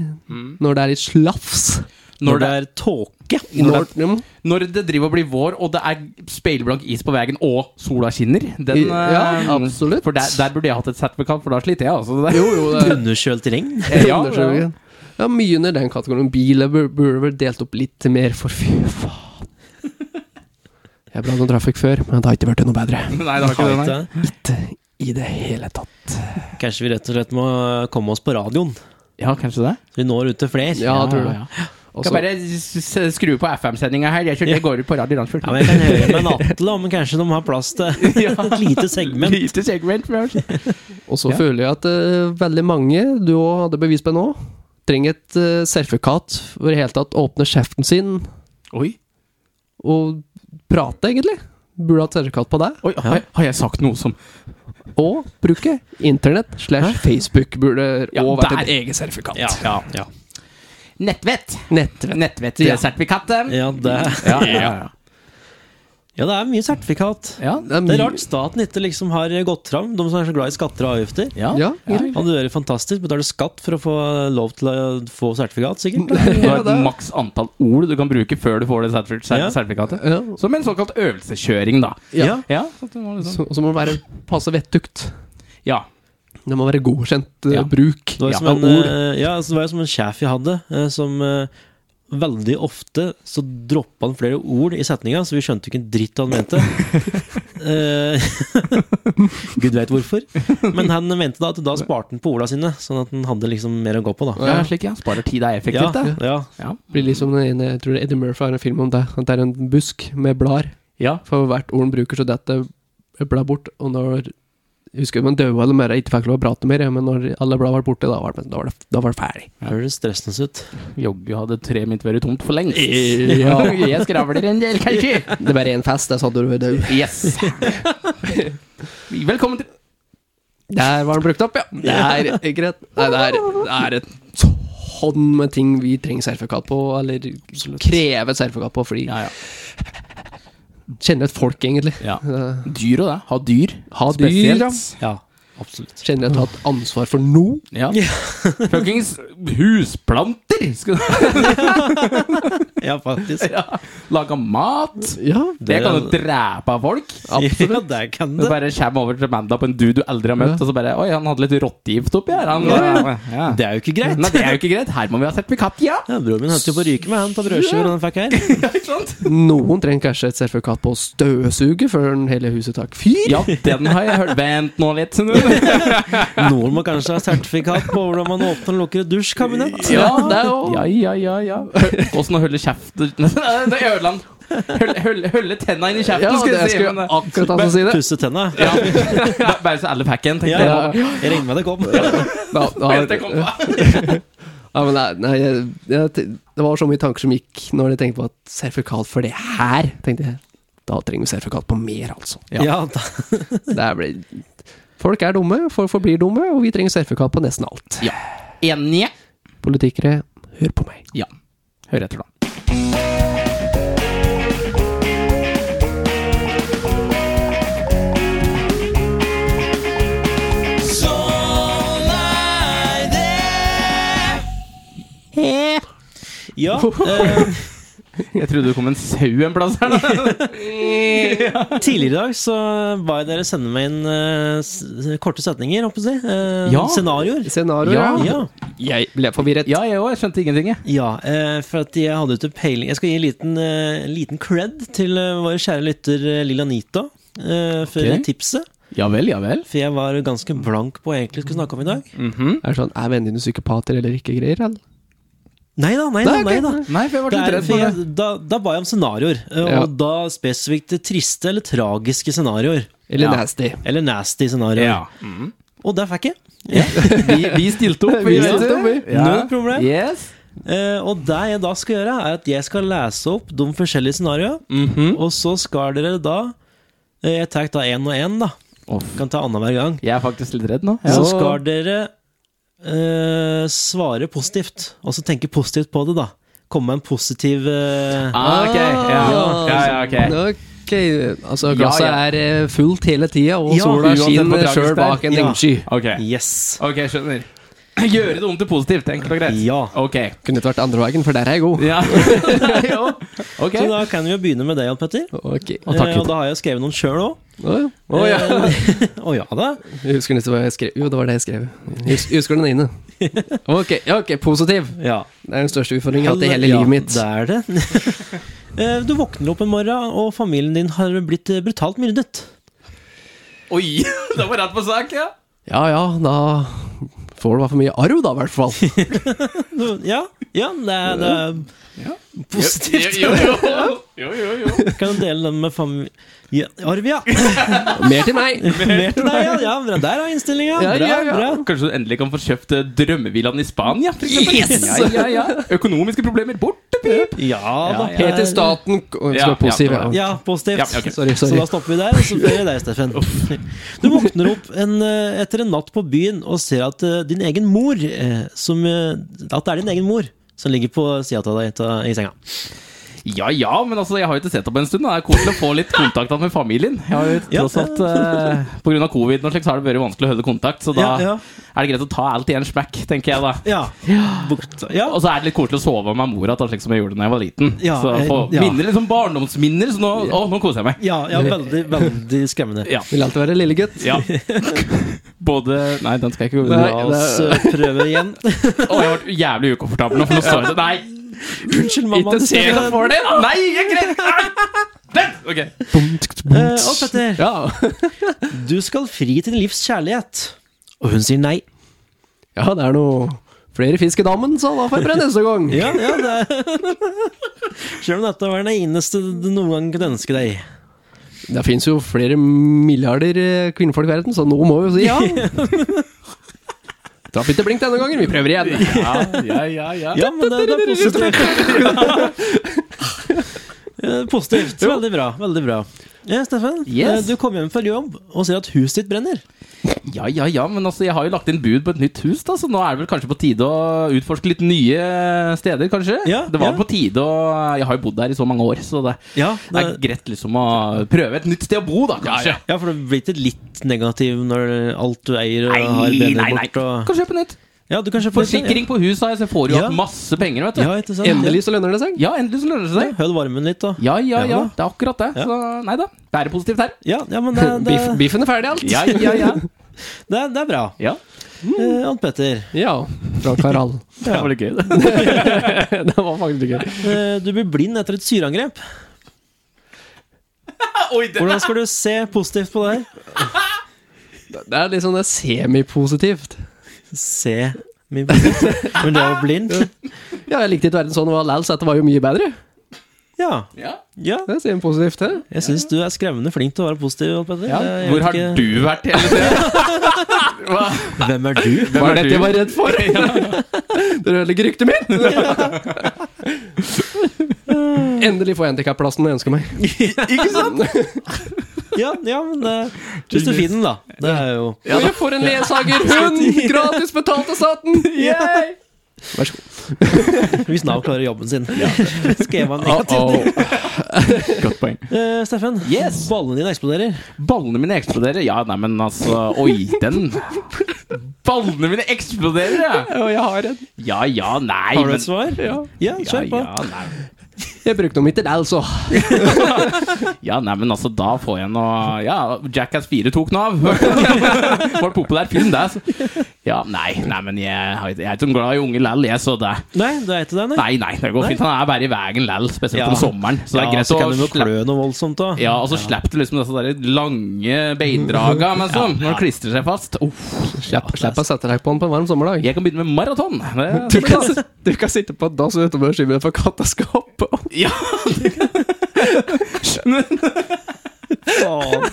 når det er litt slafs. Når det, er tåke. Mm. Når Når, det- når det driver og blir vår, og det er speilblank is på veien, og sola skinner den, Ja, eh, absolutt. For der, der burde jeg hatt et sertifikat, for da sliter jeg. Altså. Det- jo, jo, det er Underkjølt regn. Ja, undersøkelsen. ja. mye under den kategorien. Biler bur- burde vel delt opp litt mer, for fy faen. Jeg blandet noe trafikk før, men det har ikke vært noe bedre. Nei, det har ikke det, nei. Ikke i det hele tatt. Kanskje vi rett og slett må komme oss på radioen, Ja, kanskje det. så vi når ut til flere. Ja, jeg tror det. ja. Også, Kan bare s- s- skru på FM-sendinga her. Jeg kjører, det går ut på Radio Landsfjord. Ja, men jeg kan høre med Natle om kanskje de har plass til et lite segment. Lite segment, for jeg- Og så Ja. føler jeg at eh, veldig mange, du òg hadde bevis på det nå, trenger et uh, sertifikat for i det hele tatt å åpne kjeften sin Oi, og prate, egentlig. Burde hatt sertifikat på det. oi har, har jeg sagt noe som Og bruke internett slash Facebook burde Ja, òg vært et der. eget sertifikat. Ja, ja, ja. Nettvett! Nettvett. Nettvett-sertifikatet. Ja, det, Ja, ja, ja, det er mye sertifikat. ja. Det er Det er mye- rart staten ikke liksom har gått fram, de som er så glad i skatter og avgifter. Ja, Ja, ja. egentlig. Han gjør det fantastisk, betaler skatt for å få lov til å få sertifikat, sikkert. Du har Ja, det et er- maks antall ord du kan bruke før du får det sertif- Ja. ser- sertifikatet. Ja. Som en såkalt øvelseskjøring, da. Ja. Ja, så at du må liksom. Så, så må det være passe vettugt. ja. Det må være godkjent eh, Ja. bruk. Det var, jo Ja, som en, og ord. eh, ja, så det var jo som en sjef jeg hadde, eh, som eh, veldig ofte så droppa han flere ord i setninga, så vi skjønte jo ikke en dritt han mente. Eh, Gud veit hvorfor. Men han mente da at da sparte han på orda sine, sånn at han hadde liksom mer å gå på, da. ja, slik, ja. Sparer tid, er Ja, effektivt, det. ja. Ja. Blir liksom den ene, jeg tror det er Eddie Murphy har en film om det. At det er en busk med blader. Ja. For hvert ord han bruker, så detter bladet bort. Og når jeg husker man døde eller mer, jeg ikke fikk lov å prate mer, ja, men når alle bladene var borte, da var det, da var det, da var det ferdig. Høres stressende ut. Joggu hadde tre mitt vært tomt for lengst. Ja. jeg skravler en del, kanskje. Det er bare én fest, der sa du du var død. Yes. Velkommen til Der var den brukt opp, ja. Det er ikke rett. Nei, det er, det er et tonn med ting vi trenger sertifikat på, eller krever sertifikat på, fordi Ja, ja. kjenner et folk, egentlig. ja. Eh, Dyr og det. Ha dyr. Ha dyr, ja. Ja, absolutt. Kjenner jeg har tatt ansvar for noe. Ja. Fuckings husplanter! Skal du Ja, faktisk. ja. lage mat? Ja, Det kan jo drepe folk. Ja, absolutt. der kan Du det. bare kommer over til Amanda på en dude du aldri har møtt, Ja. og så bare Oi, han hadde litt rottegift oppi her. Han, ja. Det er jo ikke greit. Nei, det er jo ikke greit. Her må vi ha sertifikat, ja! Ja, Broren min holdt jo på å ryke med han på brødskiva han fikk her. ja ikke sant? Noen trenger kanskje et sertifikat på å støvsuge før hele huset tar fyr. Ja, den har jeg hørt. Vent nå litt. Ja, Noen må kanskje ha sertifikat på hvordan man åpner og lukker et dusjkabinett. det er jo Ja, ja, ja. ja. Åssen å holde kjeften Det ødela han. Hølle, hølle, hølle tenna inn i kjeften, Ja, skulle det jeg si. skulle men, jeg eh, akkurat altså si det. Pusse tenna. Ja. Bare- Bare så alle fikk en, tenkte Ja, jeg. ja. Jeg regner med det kom. Da, da, Helt til jeg kom på. ja, men nei, nei, jeg, jeg, det var så mye tanker som gikk når jeg tenkte på at sertifikat for det her, tenkte jeg. Da trenger vi sertifikat på mer, altså. Ja. Ja, da. Det er ble, folk er dumme, folk forblir dumme, og vi trenger sertifikat på nesten alt. Enige. Politikere, hør på meg. Ja. Hør etter, da. ja eh, Jeg trodde det kom en sau en plass her. Da. tidligere i dag så ba jeg dere sende meg inn eh, s- korte setninger, holdt på å si. Eh, Ja. Scenarioer. Scenarioer, ja. Ja. Jeg ble forvirret. Ja, jeg òg. Jeg skjønte ingenting, jeg. ja eh, for at jeg hadde ikke peiling Jeg skal gi en liten, eh, liten cred til eh, vår kjære lytter eh, Lilla Nita eh, for Ok. tipset. Ja vel, ja vel. For jeg var ganske blank på hva jeg egentlig skulle snakke om i dag. Er det sånn, er vennene dine psykopater eller ikke greier? Eller? Nei da, nei da. Nei, ok. Nei da. Nei, for jeg Det ble litt er, redd for for det. jeg, da, da ba jeg om scenarioer, eh, og Ja. da spesifikt triste eller tragiske scenarioer. Eller Ja. nasty? Eller nasty scenarioer. Ja. Mm. Og det fikk jeg. Vi, vi stilte opp. Vi vet du. stilte opp, vi. Null problem. Yes. Eh, og det jeg da skal gjøre, er at jeg skal lese opp de forskjellige scenarioene. Mhm. Og så skal dere da eh, Jeg tar da én og én, da. Kan ta annenhver gang. Jeg er faktisk litt redd nå. Så skal dere eh, svare positivt. Altså tenke positivt på det, da. Komme med en positiv eh, Ah, ok. Ja, ja, ja ok. Ok, altså Ja, glasset ja. er eh, fullt hele tida, og Ja, sola uansett hvor skinner tragisk sjøl det er. bak en Ja. regnsky. Ok, Yes. ok, skjønner. Gjøre det om til positivt. Enkelt og greit. Ja. Ok. Kunne det vært andre veien, for der er jeg god. Ja. Jo. ok. Så da kan vi jo begynne med det, Jan Petter. Ok. Eh, Og takk og litt. da har jeg skrevet noen sjøl òg. Å ja. Å, ja. Å ja da. Jeg husker nesten hva jeg skrev. Jo, det var det jeg skrev. Jeg hus- jeg husker den ene. Ok, ja, ok, positiv. Ja. Det er den største utfordringen jeg har hatt i hele Ja, livet mitt. Det er det. Eh, du våkner opp en morgen, og familien din har blitt eh, brutalt myrdet. Oi! Det var rett på sak, ja. Ja ja, da får du i hvert fall mye arv, da, i hvert fall. Nå- Ja, ja det er, det Ja. er positivt. Jo, jo, jo. jo, jo, jo. Kan du dele den med familien ja, Arv, ja. Mer til meg! Mer til deg, ja. ja bra. Der er innstillinga. Ja, Bra, ja, ja. bra. Kanskje du endelig kan få kjøpt eh, drømmevillaen i Spania? for eksempel? Yes! Ja, ja, ja. Økonomiske problemer borte, pip! Ja da. ja. Helt til staten Å, jeg skal være positiv, Ja, ja. Ja, positivt. Ja, ok. Sorry, Så sorry. da stopper vi der, og så blir det deg, Steffen. Du våkner opp en, eh, etter en natt på byen og ser at eh, din egen mor eh, som, eh, At det er din egen mor som ligger på sida av deg ta- i senga. Ja ja, men altså, jeg har jo ikke sett opp en stund. Da. Det er koselig å få litt kontakt med familien. Jeg har jo Ja. tross alt, eh, på grunn av covid og slikt, så har det vært vanskelig å holde kontakt. Så da Ja, ja. er det greit å ta alt i en smekk, tenker jeg da. Ja. Bort- ja. Og så er det litt koselig å sove med mora, da, slik som jeg gjorde da jeg var liten. Ja, så få eh, ja. minner, liksom barndomsminner. Så nå, å, nå koser jeg meg. Ja, ja, veldig, veldig skremmende. Ja. Vil alltid være lillegutt. ja. Både Nei, den skal jeg ikke Nei, La La oss- oss eh, prøve igjen. Å, jeg ble jævlig ukomfortabel nå, for nå står jeg til Nei! Unnskyld, mamma. Ikke se Eh, deg for det! da. Nei, jeg greier Nei! Den! Ok. eh, og Petter, Ja. du skal fri til din livs kjærlighet. Og hun sier nei. ja, det er noe flere fisk i dammen, så da får jeg prøve neste gang. Ja, ja, det er Selv om dette var den eneste du noen gang kunne ønske deg. Det fins jo flere milliarder eh, kvinnfolk i verden, så nå må vi jo si ja. Traff ikke blink denne gangen, vi prøver igjen. Ja, ja, ja. ja. Ja, men det, det er positivt. Eh, Positivt. Veldig bra. veldig bra ja, Steffen, Yes. eh, du kom hjem fra jobb og ser at huset ditt brenner. Ja, ja, ja, men altså, jeg har jo lagt inn bud på et nytt hus, da, så nå er det vel kanskje på tide å utforske litt nye steder, kanskje? Ja, det var ja. på tide, og jeg har jo bodd der i så mange år, så det, Ja, det er greit liksom å prøve et nytt sted å bo, da, kanskje. ja for du blir ikke litt negativ når alt du eier og har Nei, nei, brenner nei. bort. Og... Kan kjøpe nytt. Ja, du kan kjøpe litt, Forsikring på huset, så jeg får jo Ja. igjen masse penger, vet du. Ja, ja, ikke sant? Endelig så lønner det seg. Ja, endelig så lønner det Ja, seg. Hold varmen litt, da. Ja, ja, ja. Ja da. Det er akkurat det. Så nei da. Det er positivt her. Ja, ja men det, det, Biff, biffen er ferdig, alt. Ja, ja, ja. det, er- det er bra. ja. Eh, Ant Petter, Ja. Fra Kvaral. Det var litt gøy, det. det var faktisk gøy. eh, du blir blind etter et syreangrep. Ah, Oi, det. Hvordan skal du se positivt på det her? Det er litt sånn det er semipositivt. Se min positivt. Men det å bli blind? Ja, jeg likte ikke verden sånn, og Lals, dette var jo mye bedre. Ja. Ja. ja. Det er semipositivt, det. Jeg syns du er skremmende flink til å være positiv. Jan Petter. Ja. Jeg Hvor vet har ikke- du vært hele tiden? Hva? Hvem er du? Hva Hvem er er dette du? jeg var redd for? Dere ødelegger ryktet mitt! Endelig får jeg handikapplassen jeg ønsker meg. Ikke sant? Ja, ja men det, Hvis du finner den, da. Det er jo Og jeg får en ledsagerhund! Gratis betalt av staten! Yay! Vær så god. Hvis Nav klarer jobben sin. Skal jeg være negativ? Godt poeng. Eh, Steffen, Yes. ballene dine eksploderer. Ballene mine eksploderer. Ja, nei, men altså Oi, den Ballene mine eksploderer, ja! Og jeg har en. Ja ja, nei, Har du men et svar? Ja. Ja, ja, kjør på. ja, nei. Jeg brukte dem ikke der, altså. ja, nei, men altså, da får jeg noe Ja, Jackass 4 tok noe av. Var det populær film, det? Så. Ja, nei, nei, men jeg, har ikke- jeg er ikke så glad i unge lall, jeg, så det Nei, du er til deg, nei? Nei, nei, det går fint. Han er bare i veien lall, spesielt Ja. om sommeren. Så det er ja, greit så kan å du jo slappe klø noe voldsomt, da. ja, og så slipper du liksom disse der lange beidraga men sånn, når det klistrer seg fast. Uff, Slipp, slipp å sette deg på den på en varm sommerdag. Jeg kan begynne med maraton. Det- Du kan, du kan sitte på et dass utenfor skipet for katta skal hoppe opp. Ja! Faen.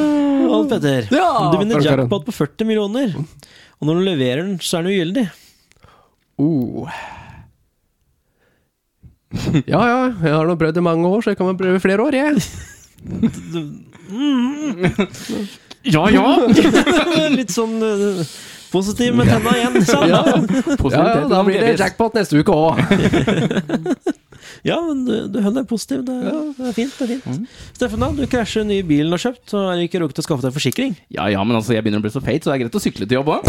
Eh, Alf Petter, Ja, du vinner Frank Karen. jackpot på 40 millioner. Og når du leverer den, så er den ugyldig. Oh. Ja, ja, jeg har nå prøvd i mange år, så jeg kan vel prøve i flere år, jeg. ja, ja! Litt sånn eh, positiv med tenna igjen. sant? Ja, ja, da blir det jack. jackpot neste uke òg. Ja, men du, du hun er positiv. Det, er- det er fint. det er fint Mm. Steffen, da, du krasjer den nye bilen du har kjøpt, og har ikke rukket å skaffe deg forsikring. Ja ja, men altså, jeg begynner å bli så feit, så det er greit å sykle til jobb òg.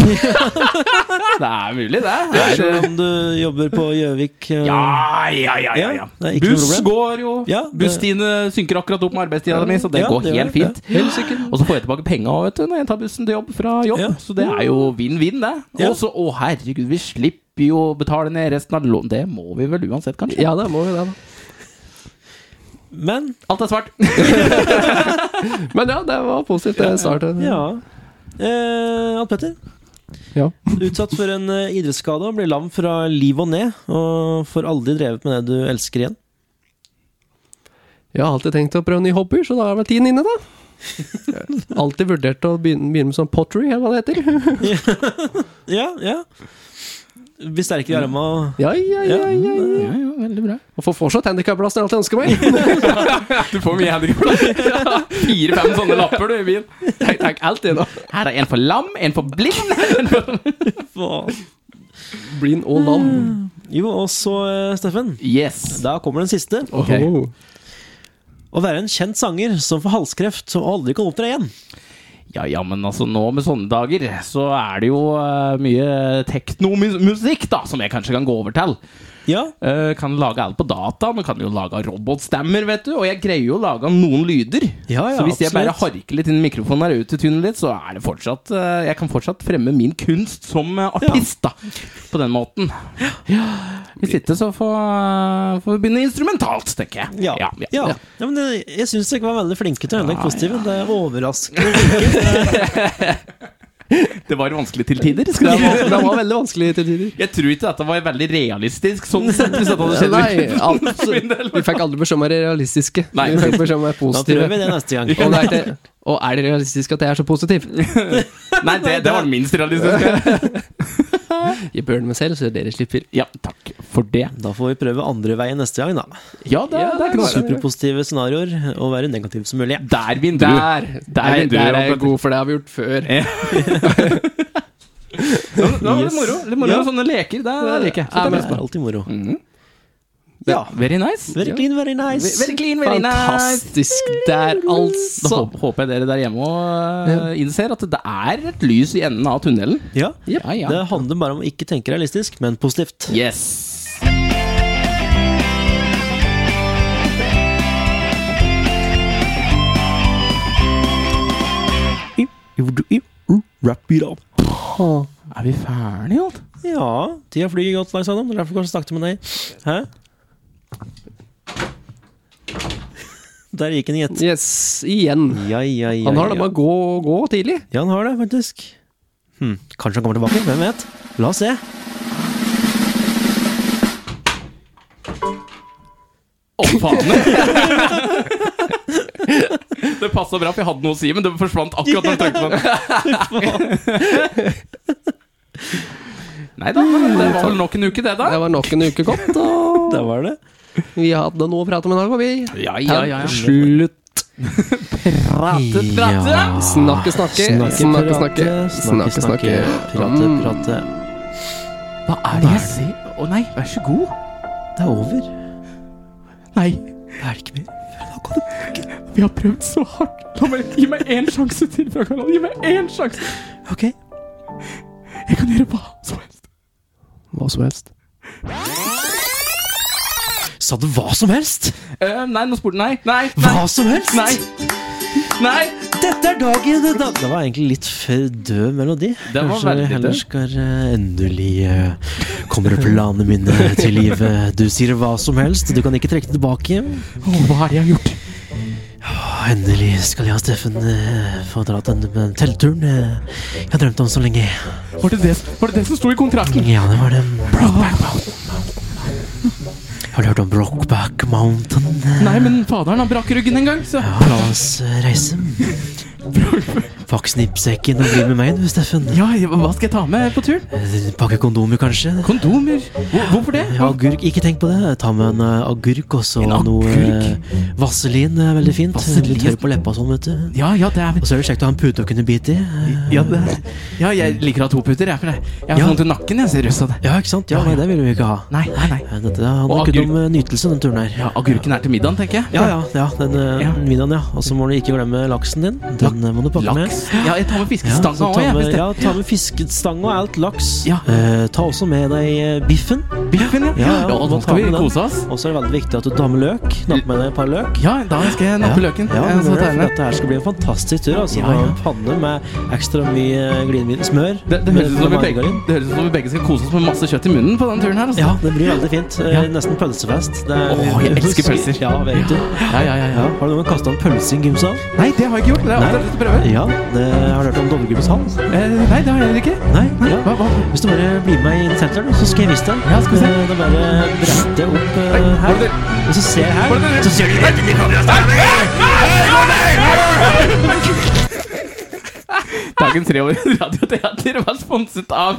det er mulig, det. Her, Selv om du jobber på Gjøvik. eh, ja, ja, ja, ja, Ja, ja. det er ikke noe Buss problem. går jo. Ja, det- Busstidene synker akkurat opp med arbeidstida mi, så det Ja, går det gjør helt det. fint. Og så får jeg tilbake penga òg, vet du, når jeg tar bussen til jobb fra jobb. Ja. Så det er jo vinn-vinn, det. Ja. Og så, å herregud, vi slipper jo å betale ned resten av lån. Det må vi vel uansett, kanskje. Ja, da må vi det, da. Men Alt er svart. Men ja, det var positivt, det startet. ja eh, Ann Petter, Ja. utsatt for en eh, idrettsskade og blir lam fra liv og ned. Og får aldri drevet med det du elsker igjen. Jeg har alltid tenkt å prøve nye hobbyer, så da er vel tiden inne, da. Alltid vurdert å begynne, begynne med sånn pottery, eller hva det heter. Ja, ja Blir sterkere i arma og Ja, ja, ja, ja, ja. Ja, ja, veldig bra. Og får fortsatt handikapplass når jeg alltid ønsker meg. Du får mye handikapplass. Fire-fem sånne lapper du i byen. Tenk, tenk alltid, da. Her er en for lam, en for blind. Faen. Blind og lam. Jo, og så, eh, Steffen. Yes. Da kommer den siste. Ok. Åhå. Å være en kjent sanger som får halskreft og aldri kan opptre igjen. Ja, ja, men altså nå med sånne dager så er det jo eh, mye teknomusikk, da, som jeg kanskje kan gå over til. Ja, Eh, kan lage alt på data. Nå kan jo lage robotstemmer, vet du. Og jeg greier jo å lage noen lyder. Ja, ja, så hvis jeg bare absolutt. harker litt inn i mikrofonen her ut i tunet litt, så er det fortsatt eh, Jeg kan fortsatt fremme min kunst som eh, artist, da. På den måten. Ja. Hvis ikke, så får, får vi begynne instrumentalt, tenker jeg. ja. ja, ja, ja. Ja, men jeg, jeg syns dere var veldig flinke til å ødelegge positive. Det er overraskende. Det var vanskelig til tider. Det Skal jeg var, det var veldig vanskelig til tider. Jeg tror ikke dette var veldig realistisk, sånn sett, hvis dette hadde skjedd. Nei, absolutt. Vi fikk aldri beskjed om å være realistiske. Nei. Vi fikk beskjed om å være Da prøver positive. vi det neste gang. Og, det er ikke- og er det realistisk at jeg er så positiv? Nei, det, det var det minst realistiske. Jeg burner meg selv, så dere slipper. Ja, takk for det. Da får vi prøve andre veien neste gang, da. Ja, det, Ja, det er ikke noe Superpositive scenarioer og være negativ som mulig. Der vindu. Der! Der, vinduer, der er jeg Robert. god, for det har vi gjort før. Ja, men det var litt moro. Litt moro Ja. med sånne leker. Det er leker. Ja, Det men- er alltid moro. Ja, very nice. Very clean, very nice. Very clean, very nice. Fantastisk der, Da altså. håper- håper jeg dere der hjemme og eh, innser at det er et lys i enden av tunnelen. Ja. Ja, ja. Det handler bare om å ikke tenke realistisk, men positivt. Yes. Wrap it up. Er vi ferdige, alt? Ja, tida flyr godt langs Adam. Det er derfor kanskje snakket med deg. Hæ? Der gikk en gjett. Yes, igjen. Ja, ja, ja. Han har det ja. med å gå, gå tidlig. ja, han har det, faktisk. Hm, kanskje han kommer tilbake. Hvem vet? La oss se. Å, faen! det passa bra, for jeg hadde noe å si, men det forsvant akkurat når jeg tenkte på det. Nei da, men det var vel nok en uke, det, da. Det var nok en uke gått, og Der var det. vi hadde noe å prate om i dag, og vi Ja, ja, ja. Her, Slutt. Prate, prate! Ja. Snakke, snakke. Snakke, snakke. Snakke, snakke. Prate, Mm. prate. Hva er det jeg ser? Å nei, vær så god. Det er over. Nei, Det er det ikke mer. vi har prøvd så hardt. La meg, gi meg én sjanse til fra Karl. Gi meg én sjanse. Ok. Jeg kan gjøre hva som helst. Hva som helst. Sa du hva som helst? Eh, nei, nå spurte Nei, nei, nei. Hva som helst? Nei. nei. Dette er dagen da. Det var egentlig litt for død melodi. var Kanskje veldig vi heller død. skal eh, endelig eh, Kommer planene mine til live. Du sier hva som helst, du kan ikke trekke det tilbake. Å, hva er det jeg har gjort? Og endelig skal jeg og Steffen eh, få dra den den teltturen eh, jeg har drømt om så lenge. Var det det, var det, det som sto i kontrakten? Ja, det var det. Har du hørt om Brockback Mountain? Nei, men faderen han brakk ryggen en gang, så Ja, la oss eh, reise. Pakk snippsekken og bli med meg, du, Steffen. Ja, hva skal jeg ta med på turen? Eh, Pakke kondomer, kanskje? Kondomer. Hvor- Hvorfor det? Ja, agurk. Ikke tenk på det. Ta med en eh, agurk og så En noe eh, agurk? Vaselin er veldig fint. Vaselin? Litt tørr på leppa og sånn, vet du. Ja, ja, det er Og så er det kjekt å ha en pute å kunne bite i. Eh, ja, det er. ja, jeg liker å ha to puter, jeg. For jeg jeg har Ja. vondt i nakken, jeg, ser russ av det. Ja, ikke sant? Ja, Ja, ja. nei, det ville vi jo ikke ha. Nei, nei, nei. Eh, Dette handler Og kun agurk. om eh, nytelse, den turen her. Ja, agurken er til middagen, tenker jeg. Ja, ja. ja den eh, Ja. middagen, ja. Og så må du ikke glemme laksen din. Den eh, må du pakke med. Laks. Ja, jeg tar Ja, så med fiskestanga ta òg, jeg. med- hvis det- Ja, ta med fiskestang og alt laks. Ja. Eh, ta også med deg eh, biffen. Biffen, ja. Ja, ja, Ja, må nå ta skal vi med den. kose oss. Og så er det veldig viktig at du tar med løk. Napp med deg et par løk. Ja, da skal jeg nappe løken. Ja, Eh, men så det, tar jeg for den. dette her skal bli en fantastisk tur. Altså, Ja, Med ja. en panne med ekstra mye glidemiddel. Smør. Det, det, høres ut med- som vi med begge, margarin. det høres ut som vi begge skal kose oss med masse kjøtt i munnen på den turen her. Altså. Ja, det blir veldig fint. Eh, Nesten pølsefest. Det er- Åh, jeg elsker pølser. Ja, vet du. Ja, ja, ja, Ja, ja. har du noen gang kasta en pølse i en gymsal? Nei, det har jeg ikke gjort. Det har jeg alltid lyst til å prøve. Ja, det har du hørt om Dovregymsal? Eh, nei, det har jeg heller ikke. Nei? Ja. Hva, hva? Hvis du bare blir med meg inn i senteren, så skal jeg vise deg. Ja, skal vi se. Eh, Da bare bretter jeg opp eh, går her. det Og så ser jeg her. Går det der? Så ser du Dagens tre år radioteater var sponset av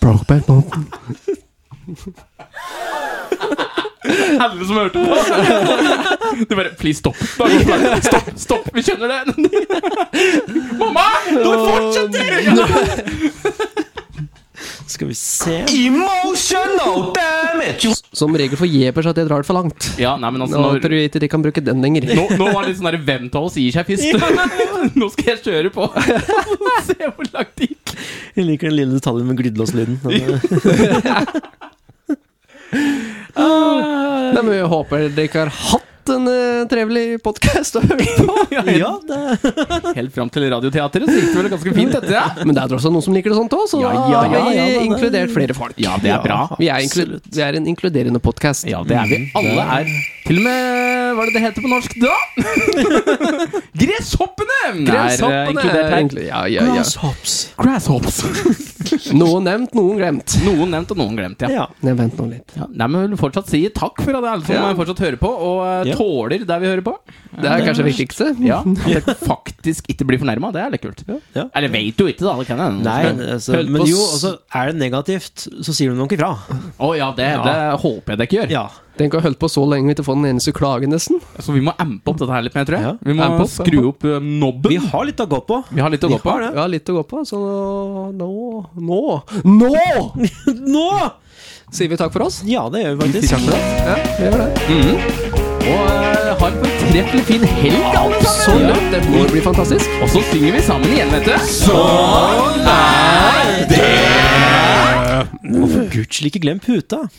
Brokeback Mountain. alle som hørte på. Du bare Please, stopp. Bare, Stopp, stopp. Vi skjønner det. Mamma! Nå fortsetter du! Skal vi se. Emotional damage. Som regel for jepers at jeg drar det for langt. Ja, nei, men altså, Nå når, tror jeg ikke de kan bruke den lenger. nå, nå var det litt sånn der Hvem av oss gir seg først? Nå skal jeg kjøre på. Se hvor langt det gikk. Jeg liker den lille detaljen med glidelåslyden. Den, eh, Nei, men jeg håper dere ikke har hatt en eh, trevelig podkast å høre på. Ja, det Helt fram til Radioteatret så gikk det vel ganske fint etter det? Men det er tross alt noen som liker det sånt òg, så Ja, da ja, har vi ja, ja, det- inkludert flere folk. Ja, det er bra. Vi er, inklu vi er en inkluderende podkast. Ja, det er vi. Alle er Til og med Hva er det det heter på norsk da? Gresshoppene! er, eh, inkludert her. Egentlig- Ja, ja, ja. Grasshops. Grasshops. Noe nevnt, noen glemt. Noen nevnt og noen glemt, ja. Ja. Nei, vent nå litt. ja. Nei, men vi vil fortsatt si takk for at alle som Ja. fortsatt hører på, og eh, Ja. tåler der vi hører på. Det er kanskje det viktigste. Ja, At dere faktisk ikke blir fornærma. Det er litt kult. Ja. Eller veit du ikke, da. Det kan hende. Nei, altså, Høll på men jo, s- altså, er det negativt, så sier du noe ifra. Å ja, det, det håper jeg dere ikke gjør. Ja. Tenk å ha holdt på så lenge vi ikke får den eneste klage, nesten. Så vi må ampe opp dette her litt mer, tror jeg. Ja. Vi må Ampe opp, skru ampe opp eh, nobben. Vi har litt å gå på. Vi har litt å Vi gå på. har det. Vi har litt å gå på, så nå Nå! Nå Nå! sier vi takk for oss. Ja, det gjør vi faktisk. Ja, vi gjør det. Og eh, ha en fortreffelig fin helg, alle Så sammen! løp, det må bli fantastisk. Og så synger vi sammen igjen, vet du. For guds skyld, ikke glem puta.